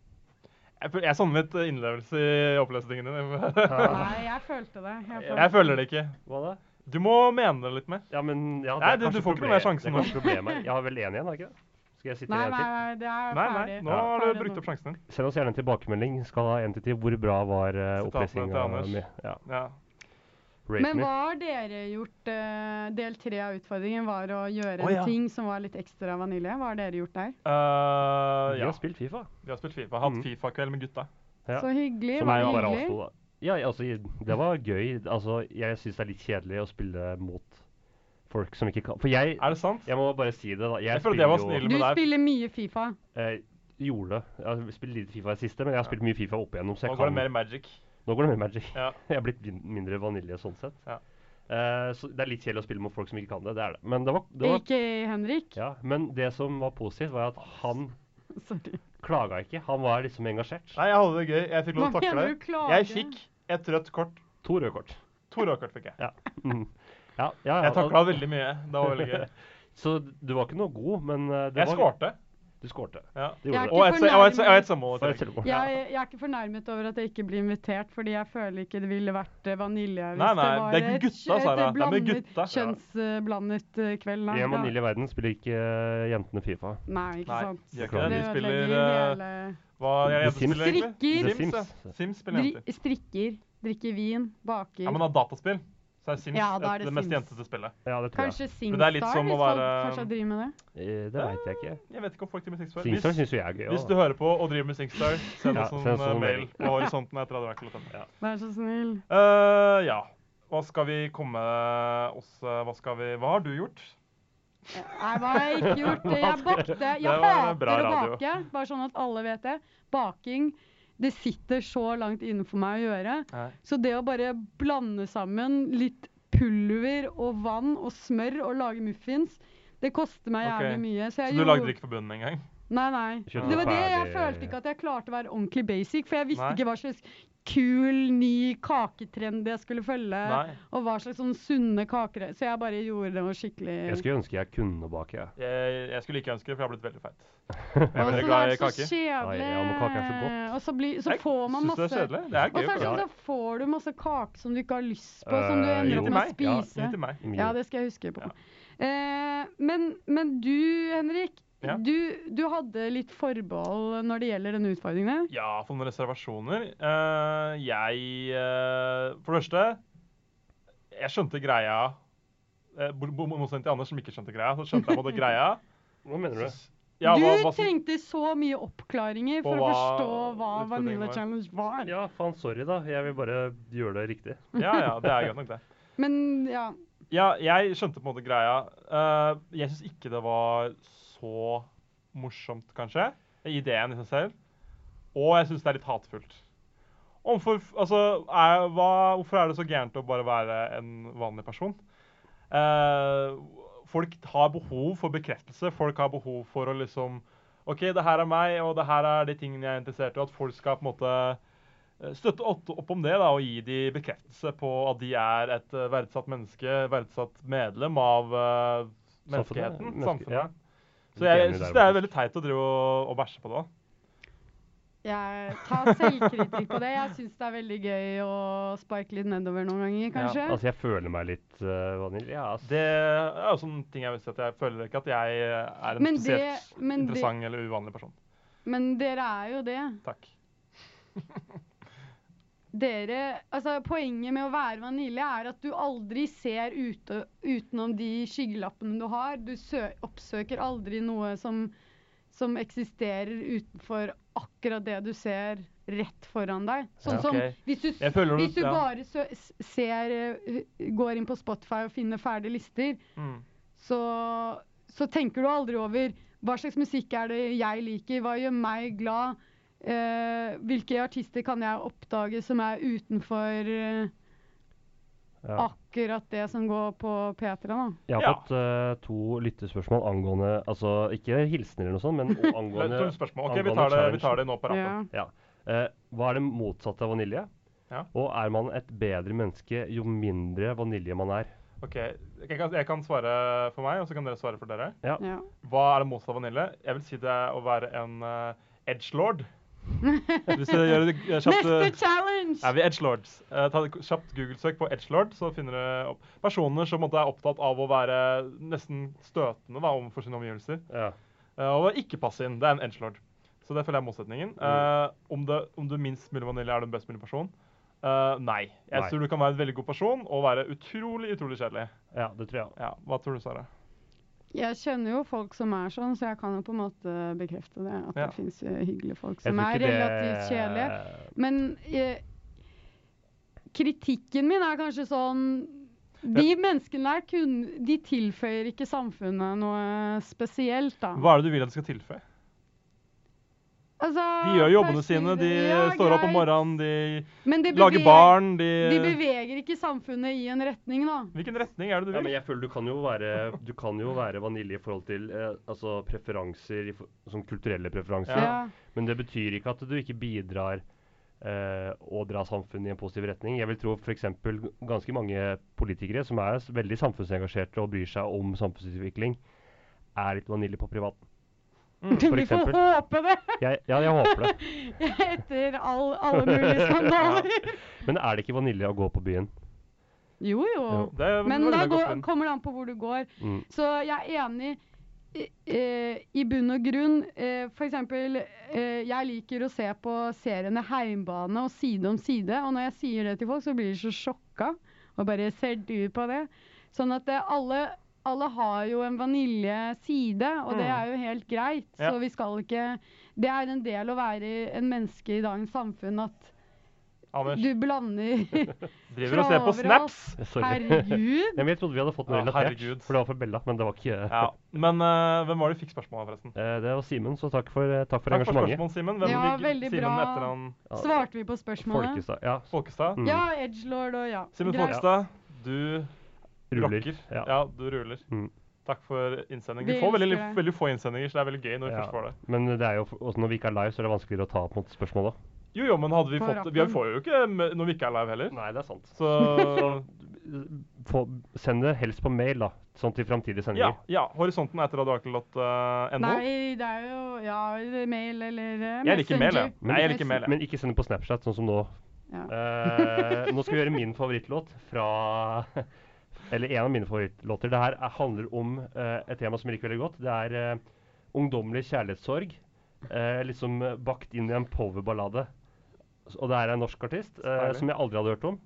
S3: Jeg, føl- jeg savner litt innlevelse i opplesningen din.
S4: Nei, jeg følte det. Jeg følte
S3: jeg føler det ikke.
S2: Hva da?
S3: Du må mene det litt mer.
S2: Ja, men ja, det
S3: Nei,
S2: er
S3: du- du
S2: kanskje
S3: får ikke noe mer
S2: problemet-
S3: sjanse
S2: det er
S3: nå.
S2: kanskje problemet. Jeg har vel én igjen, har jeg ikke det? Skal jeg sitte
S4: Nei,
S2: med en
S4: nei,
S2: til?
S4: nei, det er
S3: Nei,
S4: ferdig.
S3: nei, nå har du
S4: Ferdig
S3: brukt
S4: nå.
S3: opp sjansen din.
S2: Send oss gjerne en tilbakemelding. Skal ha en til ti. Hvor bra var uh,
S3: Sitatene til
S2: opplesninga
S3: Anders.
S2: mi? Ja.
S3: Ja.
S2: Rate
S4: Men
S2: me.
S4: hva har dere gjort? eh, del tre av utfordringen var å gjøre
S3: Å, ja.
S4: en ting som var litt ekstra vanilje. Hva har dere gjort der?
S3: Eh,
S2: Vi
S3: ja.
S2: har spilt Fifa.
S3: Vi har spilt Fifa. Hatt
S2: Mhm.
S3: Fifa-kveld med gutta.
S2: Ja.
S4: Så hyggelig.
S2: Som
S4: var
S2: er jo
S4: det
S2: bare
S4: hyggelig?
S2: avsto, da. Ja, ja, altså, det var gøy. Altså, jeg syns det er litt kjedelig å spille mot folk som ikke kan For jeg
S3: Er det sant?
S2: Jeg må bare si det, da.
S3: Jeg føler det var
S2: spiller jo-
S3: snill.
S4: Du
S3: Men det er-
S4: spiller mye Fifa.
S2: Eh, gjorde det. Jeg har spilt lite Fifa i det siste, men jeg har spilt mye Fifa opp igjennom. Så jeg
S3: Nå går det
S2: kan...
S3: mer Magic.
S2: Nå går det mer Magic.
S3: Ja.
S2: Jeg er blitt vin- mindre vanilje sånn sett.
S3: Ja.
S2: Eh, så det er litt kjedelig å spille mot folk som ikke kan det. Det er det. Men det var, det var
S4: Ikke Henrik.
S2: ja, men det som var positivt, var at han
S4: Sorry.
S2: klaga ikke. Han var liksom engasjert.
S3: Nei, jeg hadde det gøy. Jeg fikk lov
S4: Hva
S3: til å takle
S4: mener du
S3: det.
S4: klage?
S3: Jeg fikk et rødt kort.
S2: To røde kort.
S3: To røde kort fikk jeg.
S2: Ja. Mm. Ja, ja, ja.
S3: Jeg takla veldig mye. Det var veldig gøy.
S2: Så du var ikke noe god, men eh, det
S3: Jeg
S2: var
S3: skårte.
S2: Du skårte.
S3: Ja.
S2: Det
S4: Jeg er
S2: gjorde
S3: Og
S2: du.
S4: ikke
S3: et, og et, og et
S2: Og
S3: samhold.
S2: for
S3: i
S2: et
S3: tillegg.
S2: selvmål.
S4: Jeg, jeg er ikke fornærmet over at jeg ikke blir invitert, fordi jeg føler ikke det ville vært eh, vanilje hvis
S3: Nei, nei,
S4: det var
S3: det er
S4: et
S3: gutta,
S4: kjø-
S3: Sara.
S4: et
S3: Det er med
S4: blandet,
S3: gutta. Ja.
S4: kjønnsblandet eh, kveld.
S2: I en
S4: Ja.
S2: vanilje verden spiller ikke eh, jentene Fifa.
S4: Nei, ikke
S3: Nei,
S4: sant.
S3: de gjør ikke det.
S4: Det
S3: De spiller
S4: ødelegger
S3: eh,
S4: hele
S3: hva er det jenter
S2: The
S3: spiller,
S4: Sims.
S3: egentlig?
S4: Strikker.
S2: The
S3: Sims,
S2: Sims.
S3: ja. Sims spiller jenter.
S4: Dri Strikker, drikker vin, baker.
S3: Ja, men av dataspill så er Sims
S4: Ja, da er
S3: et,
S4: det
S3: det mest
S4: Sims.
S3: jentete spillet.
S2: Ja, det tror
S4: Kanskje
S3: Men det er
S4: Singstar,
S3: litt
S4: hvis
S3: som å
S4: folk
S3: være-
S4: fortsatt driver med det.
S2: jeg. Eh, Det veit jeg ikke.
S3: Jeg vet ikke om folk driver med Singstar.
S2: Singstar
S3: Hvis,
S2: syns jo jeg er gøy.
S3: hvis
S2: da.
S3: du hører på og driver med Singstar, send
S2: Ja,
S3: oss en
S2: send oss
S3: eh,
S2: en
S3: mail
S2: melding.
S3: på horisonten etter at det vært ja.
S4: Vær så snill.
S3: Eh, ja. Hva skal vi komme oss eh, Hva skal vi Hva har du gjort?
S4: Nei, hva har jeg ikke gjort? Jeg bakte.
S3: Det
S4: Jeg
S3: var
S4: hater
S3: bra
S4: å
S3: radio.
S4: bake, bare sånn at alle vet det. Baking, det sitter så langt innenfor meg å gjøre. Så det å bare blande sammen litt pulver og vann og smør og lage muffins, det koster meg jævlig
S3: Ok.
S4: mye. Så,
S3: Så
S4: jeg
S3: du
S4: gjorde-
S3: lagde det ikke for bunnen engang?
S4: Nei, nei.
S2: Kjøpte
S4: Det var det jeg
S2: ferdig-
S4: følte ikke at jeg klarte å være ordentlig basic, for jeg visste
S3: Nei.
S4: ikke hva slags kul, ny kaketrend jeg skulle følge,
S3: Nei.
S4: og hva slags sånn sunne kaker Så jeg bare gjorde det skikkelig
S2: Jeg skulle ønske jeg kunne bake. jeg.
S3: Jeg, jeg skulle ikke ønske det, for jeg har blitt veldig feit.
S4: Og så
S3: Jeg er veldig
S4: er
S3: glad
S4: det
S3: i
S4: så
S3: kaker.
S4: kjedelig.
S2: Nei, ja, men kake er så godt.
S4: Og så, blir- så
S3: Jeg
S4: får man
S3: synes
S4: masse
S3: det er kjedelig. Det er
S4: Og så
S3: gøy
S4: er
S3: å
S4: det sånn,
S3: prøve.
S4: så får du masse kake som du ikke har lyst på,
S2: Eh,
S4: som du ender
S2: jo.
S4: opp
S3: Gi til
S4: med å
S3: meg.
S2: Ja,
S4: spise.
S3: Gi til meg.
S2: Mye.
S4: Ja, det skal jeg huske på.
S3: Ja.
S4: Eh, men, men du, Henrik,
S3: Ja.
S4: du, du hadde litt forbehold når det gjelder denne utfordringen. her.
S3: Ja, for noen reservasjoner. Eh, jeg eh, For det første Jeg skjønte greia eh, bo- bo- Motsatt til Anders, som ikke skjønte greia. Så skjønte jeg både greia
S2: Hva mener du?
S3: s- ja,
S4: du
S3: hva, hva som,
S4: trengte så mye oppklaringer for
S3: Og
S4: å
S3: hva
S4: forstå hva
S3: utfordringen
S4: Vanilla
S3: var.
S4: Challenge var.
S2: Ja, faen, sorry, da. Jeg vil bare gjøre det riktig.
S3: ja, ja, det er greit nok, det.
S4: Men ja,
S3: Ja, jeg skjønte på en måte greia. Eh, jeg syns ikke det var så morsomt, kanskje. Ideen i seg selv. Og jeg syns det er litt hatfullt. Omfor, altså, er, hva, hvorfor er det så gærent å bare være en vanlig person? Eh, folk har behov for bekreftelse. Folk har behov for å liksom OK, det her er meg, og det her er de tingene jeg er interessert i. Og at folk skal på en måte eh, støtte opp, opp om det da, og gi de bekreftelse på at de er et eh, verdsatt menneske, verdsatt medlem av eh,
S2: Samfunnet,
S3: menneskeheten.
S2: menneske-
S3: Samfunnet.
S2: ja.
S3: Så jeg
S2: Litt enig
S3: syns
S2: der,
S3: det er
S2: faktisk.
S3: veldig teit å drive og, og bæsje på det. da.
S4: Jeg tar selvkritikk på det. Jeg syns det er veldig gøy å sparke litt nedover noen ganger, kanskje.
S2: Altså, jeg føler meg litt eh, vanilje. Ja, ass.
S3: Det er jo sånn ting jeg vil si at jeg føler ikke at jeg eh, er en
S4: Men det-
S3: spesielt
S4: men det-
S3: interessant eller uvanlig person.
S4: Men dere er jo det.
S3: Takk.
S4: Dere, altså Poenget med å være vanilje er at du aldri ser ute, utenom de skyggelappene du har. Du sø oppsøker aldri noe som, som eksisterer utenfor akkurat det du ser rett foran deg.
S3: Ja,
S4: Sånn
S3: ok.
S4: som hvis du
S3: Jeg føler
S4: Hvis du
S3: ja.
S4: bare sø s- ser, eh, går inn på Spotify og finner ferdige lister,
S3: mm.
S4: så, så tenker du aldri over hva slags musikk er det jeg liker, hva gjør meg glad, eh, hvilke artister kan jeg oppdage som er utenfor eh,
S2: ja.
S4: akkurat det som går på P3, da.
S2: Jeg har
S3: Ja.
S2: fått eh, to lyttespørsmål angående Altså ikke hilsener eller noe sånt, men o- angående
S3: Angående, spørsmål. Ok, vi
S2: angående
S3: tar, det, vi
S2: challengen.
S3: tar det nå på rappen.
S2: Ja. Eh, hva er det motsatte av vanilje?
S3: Ja.
S2: Og er man et bedre menneske jo mindre vanilje man er?
S3: Ok, jeg kan, jeg kan svare for meg, og så kan dere svare for dere.
S2: Ja.
S4: Ja.
S3: Hva er det motsatte av vanilje? Jeg vil si det er å være en eh, edgelord. Hvis dere gjør det eh, kjapt
S4: Neste
S3: eh,
S4: challenge!
S3: Er vi edgelords? Eh, ta et kjapt Google-søk på edgelord, så finner dere opp personer som på en måte er opptatt av å være nesten støtende da, overfor sine omgivelser.
S2: Ja.
S3: Eh, Og ikke passe inn. Det er en edgelord. Så det føler jeg er motsetningen.
S2: Mm.
S3: Eh, om, det, om du minst mulig vanilje er du en best mulig person? Eh, nei. Jeg
S2: Nei.
S3: tror du kan være en veldig god person og være utrolig utrolig kjedelig.
S2: ja, det tror jeg.
S3: Ja, Hva tror du, Sara?
S4: Jeg kjenner jo folk som er sånn, så jeg kan jo på en måte bekrefte det. At
S3: Ja.
S4: det fins hyggelige folk
S2: Jeg
S4: som
S2: tror
S4: er
S2: ikke det-
S4: relativt kjedelige. Men eh, kritikken min er kanskje sånn De menneskene der kun, de tilføyer ikke samfunnet noe spesielt, da.
S3: Hva er det du vil at det skal tilføye?
S4: Altså,
S3: De gjør jobbene
S4: perspektiv-
S3: sine. De
S4: Ja,
S3: står opp om
S4: greit.
S3: morgenen, de
S4: Men de
S3: lager
S4: beveger-
S3: barn, de,
S4: De beveger ikke samfunnet i en retning, da.
S3: Hvilken retning er det du
S2: Ja,
S3: vil?
S2: men jeg føler du kan jo være, du kan jo være vanilje i forhold til eh, altså preferanser, i for, sånn kulturelle preferanser.
S3: Ja.
S2: Men det betyr ikke at du ikke bidrar eh, å dra samfunnet i en positiv retning. Jeg vil tro f.eks. ganske mange politikere som er s- veldig samfunnsengasjerte og bryr seg om samfunnsutvikling, er litt vanilje på privaten. for
S4: Vi får
S2: eksempel.
S4: håpe det,
S2: Jeg, ja, jeg håper det.
S4: etter all, alle mulige skandaler.
S2: Men er det ikke vanilje å gå på byen?
S4: Jo, jo.
S2: Jo.
S3: Det er-
S4: Men
S3: det
S4: da
S3: er et godt
S4: går,
S3: poeng.
S4: kommer det an på hvor du går.
S2: Mm.
S4: Så jeg er enig i, eh, i bunn og grunn. Eh, for eksempel, eh, jeg liker å se på seriene Heimbane og Side om side. Og når jeg sier det til folk, så blir de så sjokka. Og bare ser du på det? Sånn at eh, alle, alle har jo en vaniljeside, og det
S3: Mm.
S4: er jo helt greit.
S3: Ja.
S4: Så vi skal ikke Det er en del å være en menneske i dagens samfunn at
S3: Anders
S4: du blander
S3: driver og ser på
S4: overalt.
S3: snaps.
S2: Sorry.
S4: Herregud!
S2: Ja, men jeg trodde vi hadde fått noe
S3: Ja,
S2: relatert,
S3: herregud.
S2: for det var for Bella. Men det var ikke
S3: Ja, Men eh, hvem var det du fikk spørsmål av, forresten?
S2: Eh, Det var Simen, så takk for, eh, takk for
S3: Takk for
S2: engasjementet.
S3: spørsmålet, Simen. Hvem
S4: Ja,
S3: ligger
S4: veldig
S3: Simen
S4: bra.
S3: etter han
S2: Ja,
S4: Svarte vi på spørsmålet?
S2: Folkestad. Ja,
S3: Folkestad?
S2: Mm.
S4: Ja, Edgelord og ja.
S3: Simen
S4: Greit.
S3: Folkestad, du
S2: ruller.
S3: rocker. Ja.
S2: Ja.
S3: du ruler.
S2: Mm.
S3: Takk for innsending. Vi
S4: Vi
S3: får veldig,
S4: elsker deg.
S3: veldig få innsendinger, så det er veldig gøy når vi
S2: Ja.
S3: først får det.
S2: Men det er jo, f- også når vi ikke er live, så er det vanskeligere å ta opp mot spørsmål da.
S3: Jo, jo, men hadde vi
S4: På
S3: fått Vi
S4: rappen.
S3: får jo ikke med- når vi ikke er live heller.
S2: Nei, det er sant.
S3: Så
S2: Få, send det helst på mail, da. Sånn til framtidige
S3: ja,
S2: sendinger.
S3: ja. Horisonten er radioakel.no.
S4: Nei, det er jo ja, eller mail eller eh,
S3: Jeg liker mail,
S4: Messenger.
S3: jeg. Nei, jeg liker mail, jeg.
S2: Men ikke send det på Snapchat, sånn som nå.
S4: Ja.
S2: Eh, nå skal vi gjøre min favorittlåt fra Eller en av mine favorittlåter. Det her er- handler om eh, et tema som jeg liker veldig godt. Det er eh, ungdommelig kjærlighetssorg. eh, liksom eh, bakt inn i en powerballade. S- Og det her er en norsk artist eh,
S3: Herlig.
S2: som jeg aldri hadde hørt om.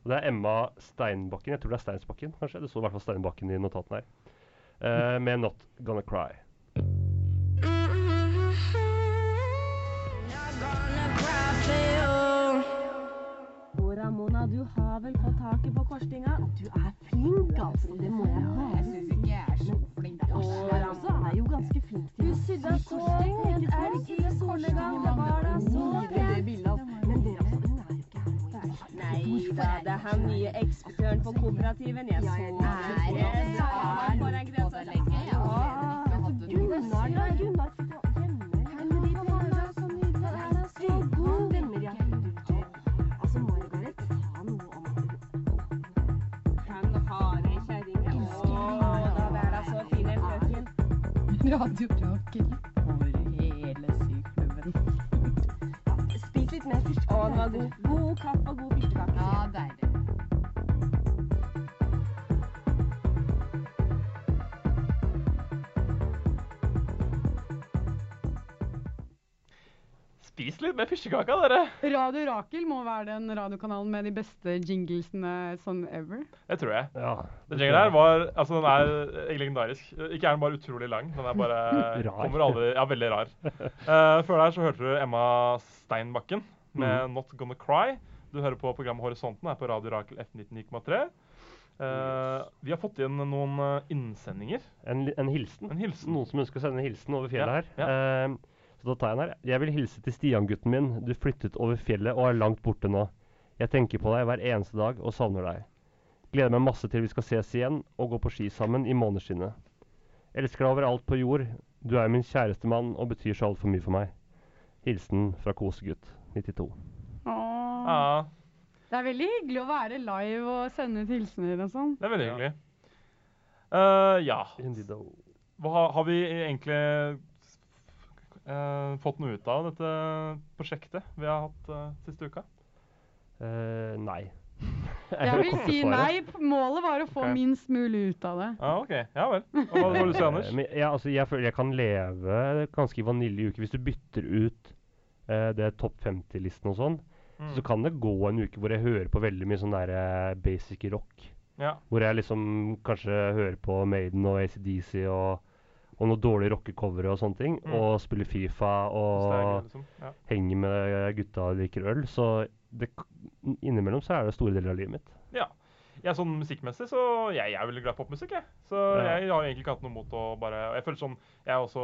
S2: Og det er Emma Steinbakken. Jeg tror det er Steinsbakken, kanskje. Det står i hvert fall Steinbakken i notatene her. Eh, med 'Not Gonna Cry'.
S8: Dora Mona, du har vel fått taket på korstinga? Du er flink, altså. Det må jeg bare Jeg syns ikke jeg er så flink. Dora også er jo ganske flink til Du sydde så pent elg i solnedgang. Det var da sånn så pent. Men dere, altså, hun er jo ikke Nei da, det er han nye ekspeditøren sjøl på kooperativen. Jeg så det. Jeg var bare en grense. Gunnar, ja, Gunnar.
S7: Radiorakel over hele syklubben.
S8: Spis litt mer fyrstekake. Å, den var god. God kaffe og god fyrstekake.
S7: Ja, deilig.
S3: Spis litt mer pysjekaka, dere!
S4: Radio Rakel må være den radiokanalen med de beste jinglesene sånn ever.
S3: Det tror jeg.
S2: Ja.
S3: Den jinglen her var Altså, den er eh, legendarisk. Eh, Ikke er den bare utrolig lang, den er bare
S2: Rar.
S3: Kommer aldri Ja, veldig rar. Eh, før der så hørte du Emma Steinbakken med
S2: Mm.
S3: 'Not Gonna Cry'. Du hører på programmet Horisonten her på Radio Rakel F99,3. Eh, vi har fått inn noen eh, innsendinger.
S2: En, li- en hilsen.
S3: En hilsen.
S2: Noen som ønsker å sende en hilsen over fjellet
S3: Ja,
S2: her. Eh, så da tar jeg den her. Jeg vil hilse til Stian-gutten min. Du flyttet over fjellet og er langt borte nå. Jeg tenker på deg hver eneste dag og savner deg. Gleder meg masse til vi skal ses igjen og gå på ski sammen i måneskinnet. Elsker deg overalt på jord. Du er jo min kjæreste mann og betyr så altfor mye for meg. Hilsen fra kosegutt 92.
S4: Åh.
S3: Ja,
S4: Det er veldig hyggelig å være live og sende ut hilsener og sånn.
S3: det er veldig hyggelig. Eh, ja.
S2: Indido.
S3: Hva, har vi egentlig eh, fått noe ut av dette prosjektet vi har hatt eh, siste uka?
S2: Eh, nei.
S4: Jeg vil si
S2: Korte svaret.
S4: nei. Målet var å få
S3: Ok.
S4: minst mulig ut av det.
S3: Ja, OK. Ja vel. Hva, hva har du si, Anders?
S2: Eh, Men, ja, altså, jeg føler jeg kan leve ganske vanilje uke hvis du bytter ut eh, det topp 50-listen og sånn.
S3: Mm.
S2: Så kan det gå en uke hvor jeg hører på veldig mye sånn der eh, basic rock.
S3: Ja.
S2: Hvor jeg liksom kanskje hører på Maiden og ACDC og, og noen dårlige rockecovere og sånne ting.
S3: Mm.
S2: Og spiller Fifa
S3: Hvis det er gøy,
S2: og
S3: liksom. Ja.
S2: henger med gutta og drikker øl. Så det, k- innimellom så er det store deler av livet mitt.
S3: Ja, sånn musikkmessig så jeg er veldig glad i popmusikk, jeg. Så
S2: Ja.
S3: jeg har egentlig ikke hatt noe mot å bare og Jeg føler sånn Jeg er også,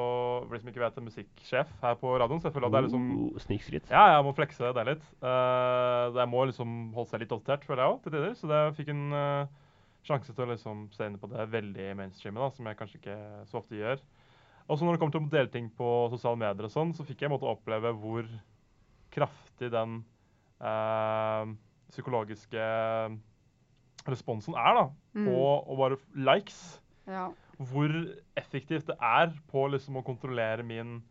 S3: for de som ikke vet, en musikksjef her på radioen, så jeg føler at det er liksom
S2: Oh, Snikskritt.
S3: Ja, jeg må flekse det litt. Eh, det må liksom holde seg litt oppdatert, føler jeg òg, til tider. Så det jeg fikk en eh, sjanse til å liksom se inn på det veldig mainstreamet, da, som jeg kanskje ikke så ofte gjør. Og så når det kommer til å dele ting på sosiale medier og sånn, så fikk jeg måtte oppleve hvor kraftig den eh, psykologiske responsen er, da.
S4: Mm.
S3: På å bare f- likes
S4: Ja.
S3: hvor effektivt det er på liksom å kontrollere min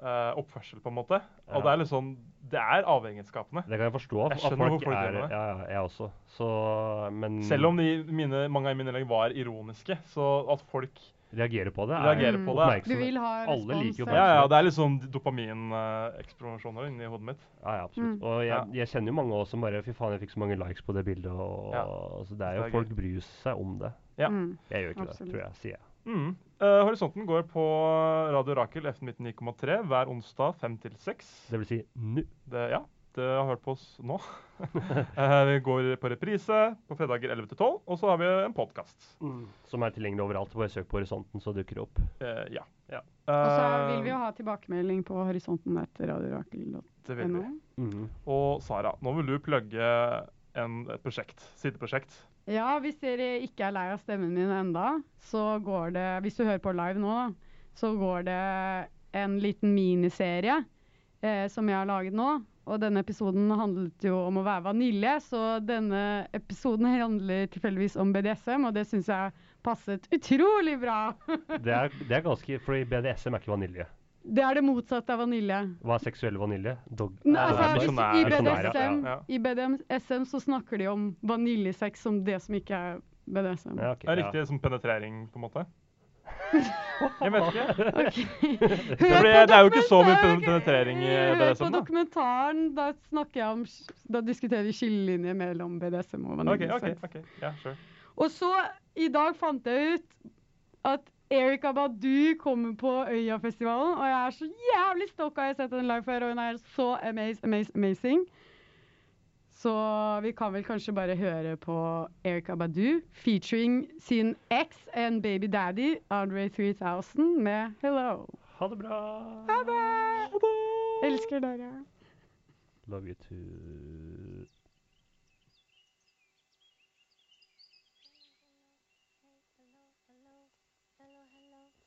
S3: eh, oppførsel, på en måte.
S2: Ja.
S3: Og det er litt sånn Det er avhengighetsskapende.
S2: Det kan jeg forstå.
S3: Jeg
S2: at
S3: skjønner
S2: folk
S3: hvorfor folk
S2: er,
S3: gjør det.
S2: Ja, ja, jeg også. Så, men
S3: Selv om de, mine, mange av mine innlegg var ironiske, så at folk
S2: reagerer på det,
S3: reagerer på det
S4: Du vil ha
S2: Alle liker
S4: respons.
S2: jo
S3: Ja, ja, det er liksom dopaminekspronasjoner eh, inni hodet mitt.
S2: Ja, ja,
S4: Mm.
S2: absolutt. Og jeg,
S3: Ja.
S2: jeg kjenner jo mange også som bare Fy faen, jeg fikk så mange likes på det bildet. Og,
S3: Ja.
S2: Så det er
S3: Så
S2: jo
S3: det er
S2: Folk bryr seg om det.
S3: Ja.
S4: Mm.
S2: Jeg gjør ikke
S4: Absolutt.
S2: det, tror jeg. sier jeg.
S3: Mm. Eh, Horisonten går på Radio Rakel F99,3 hver onsdag fem til seks.
S2: Det vil si nå.
S3: Det, ja, det har hørt på oss nå. Eh, vi går på reprise på fredager 11 til 12, og så har vi en podkast.
S2: Som er tilgjengelig overalt. Bare søk på horisonten, så dukker det opp.
S3: Eh, ja.
S2: Ja.
S4: Og så
S3: Eh.
S4: vil vi jo ha tilbakemelding på horisonten etter radiorakel.no.
S3: Det vil vi. Mm. Og Sara, nå vil du plugge en, et prosjekt, sideprosjekt.
S4: Ja, hvis dere ikke er lei av stemmen min enda, så går det, hvis du hører på live nå, da, så går det en liten miniserie eh, som jeg har laget nå. Og denne episoden handlet jo om å være vanilje, så denne episoden handler tilfeldigvis om BDSM, og det syns jeg passet utrolig bra.
S2: Det er, det er ganske Fordi BDSM er ikke vanilje.
S4: Det er det motsatte av vanilje.
S2: Hva er seksuell vanilje? Dog
S4: Nei,
S3: det er
S4: altså, hvis,
S3: misjonær-
S4: i,
S2: misjonær, ja.
S4: BDSM,
S3: Ja.
S4: I BDSM så snakker de om vaniljesex som det som ikke er BDSM.
S2: Ja, ok,
S3: Det er
S2: ja.
S3: riktig som penetrering, på en måte. Jeg vet ikke.
S4: Hør
S3: For det,
S4: på
S3: det er jo ikke så mye
S4: dokumentaren!
S3: pen- penetrering eh, i
S4: Hør på
S3: BDSM, sånn, da.
S4: dokumentaren. Da snakker jeg om Da diskuterer vi skillelinjer mellom BDSM og
S3: OK,
S4: vaniljesex.
S3: OK. ok. Ja, sure.
S4: Og så, i dag fant jeg ut at Erika Badu kommer på Øyafestivalen, og jeg er så jævlig stokka. Jeg har sett henne live før, og hun er så amaze, amaze, amazing. Så vi kan vel kanskje bare høre på Erika Badu featuring sin ex and baby daddy, Andre 3000, med 'Hello'.
S2: Ha det bra.
S4: Ha det! Elsker dere.
S2: Love you too.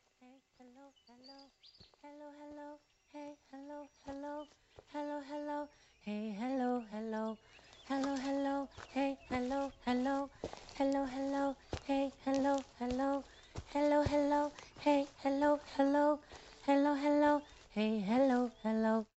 S9: Hello, hello, hello, hey, hello, hello, hello, hello, hey, hello, hello, hello, hello, hey, hello, hello, hello, hello, hey, hello, hello, hello, hello, hey, hello, hello, hello, hello,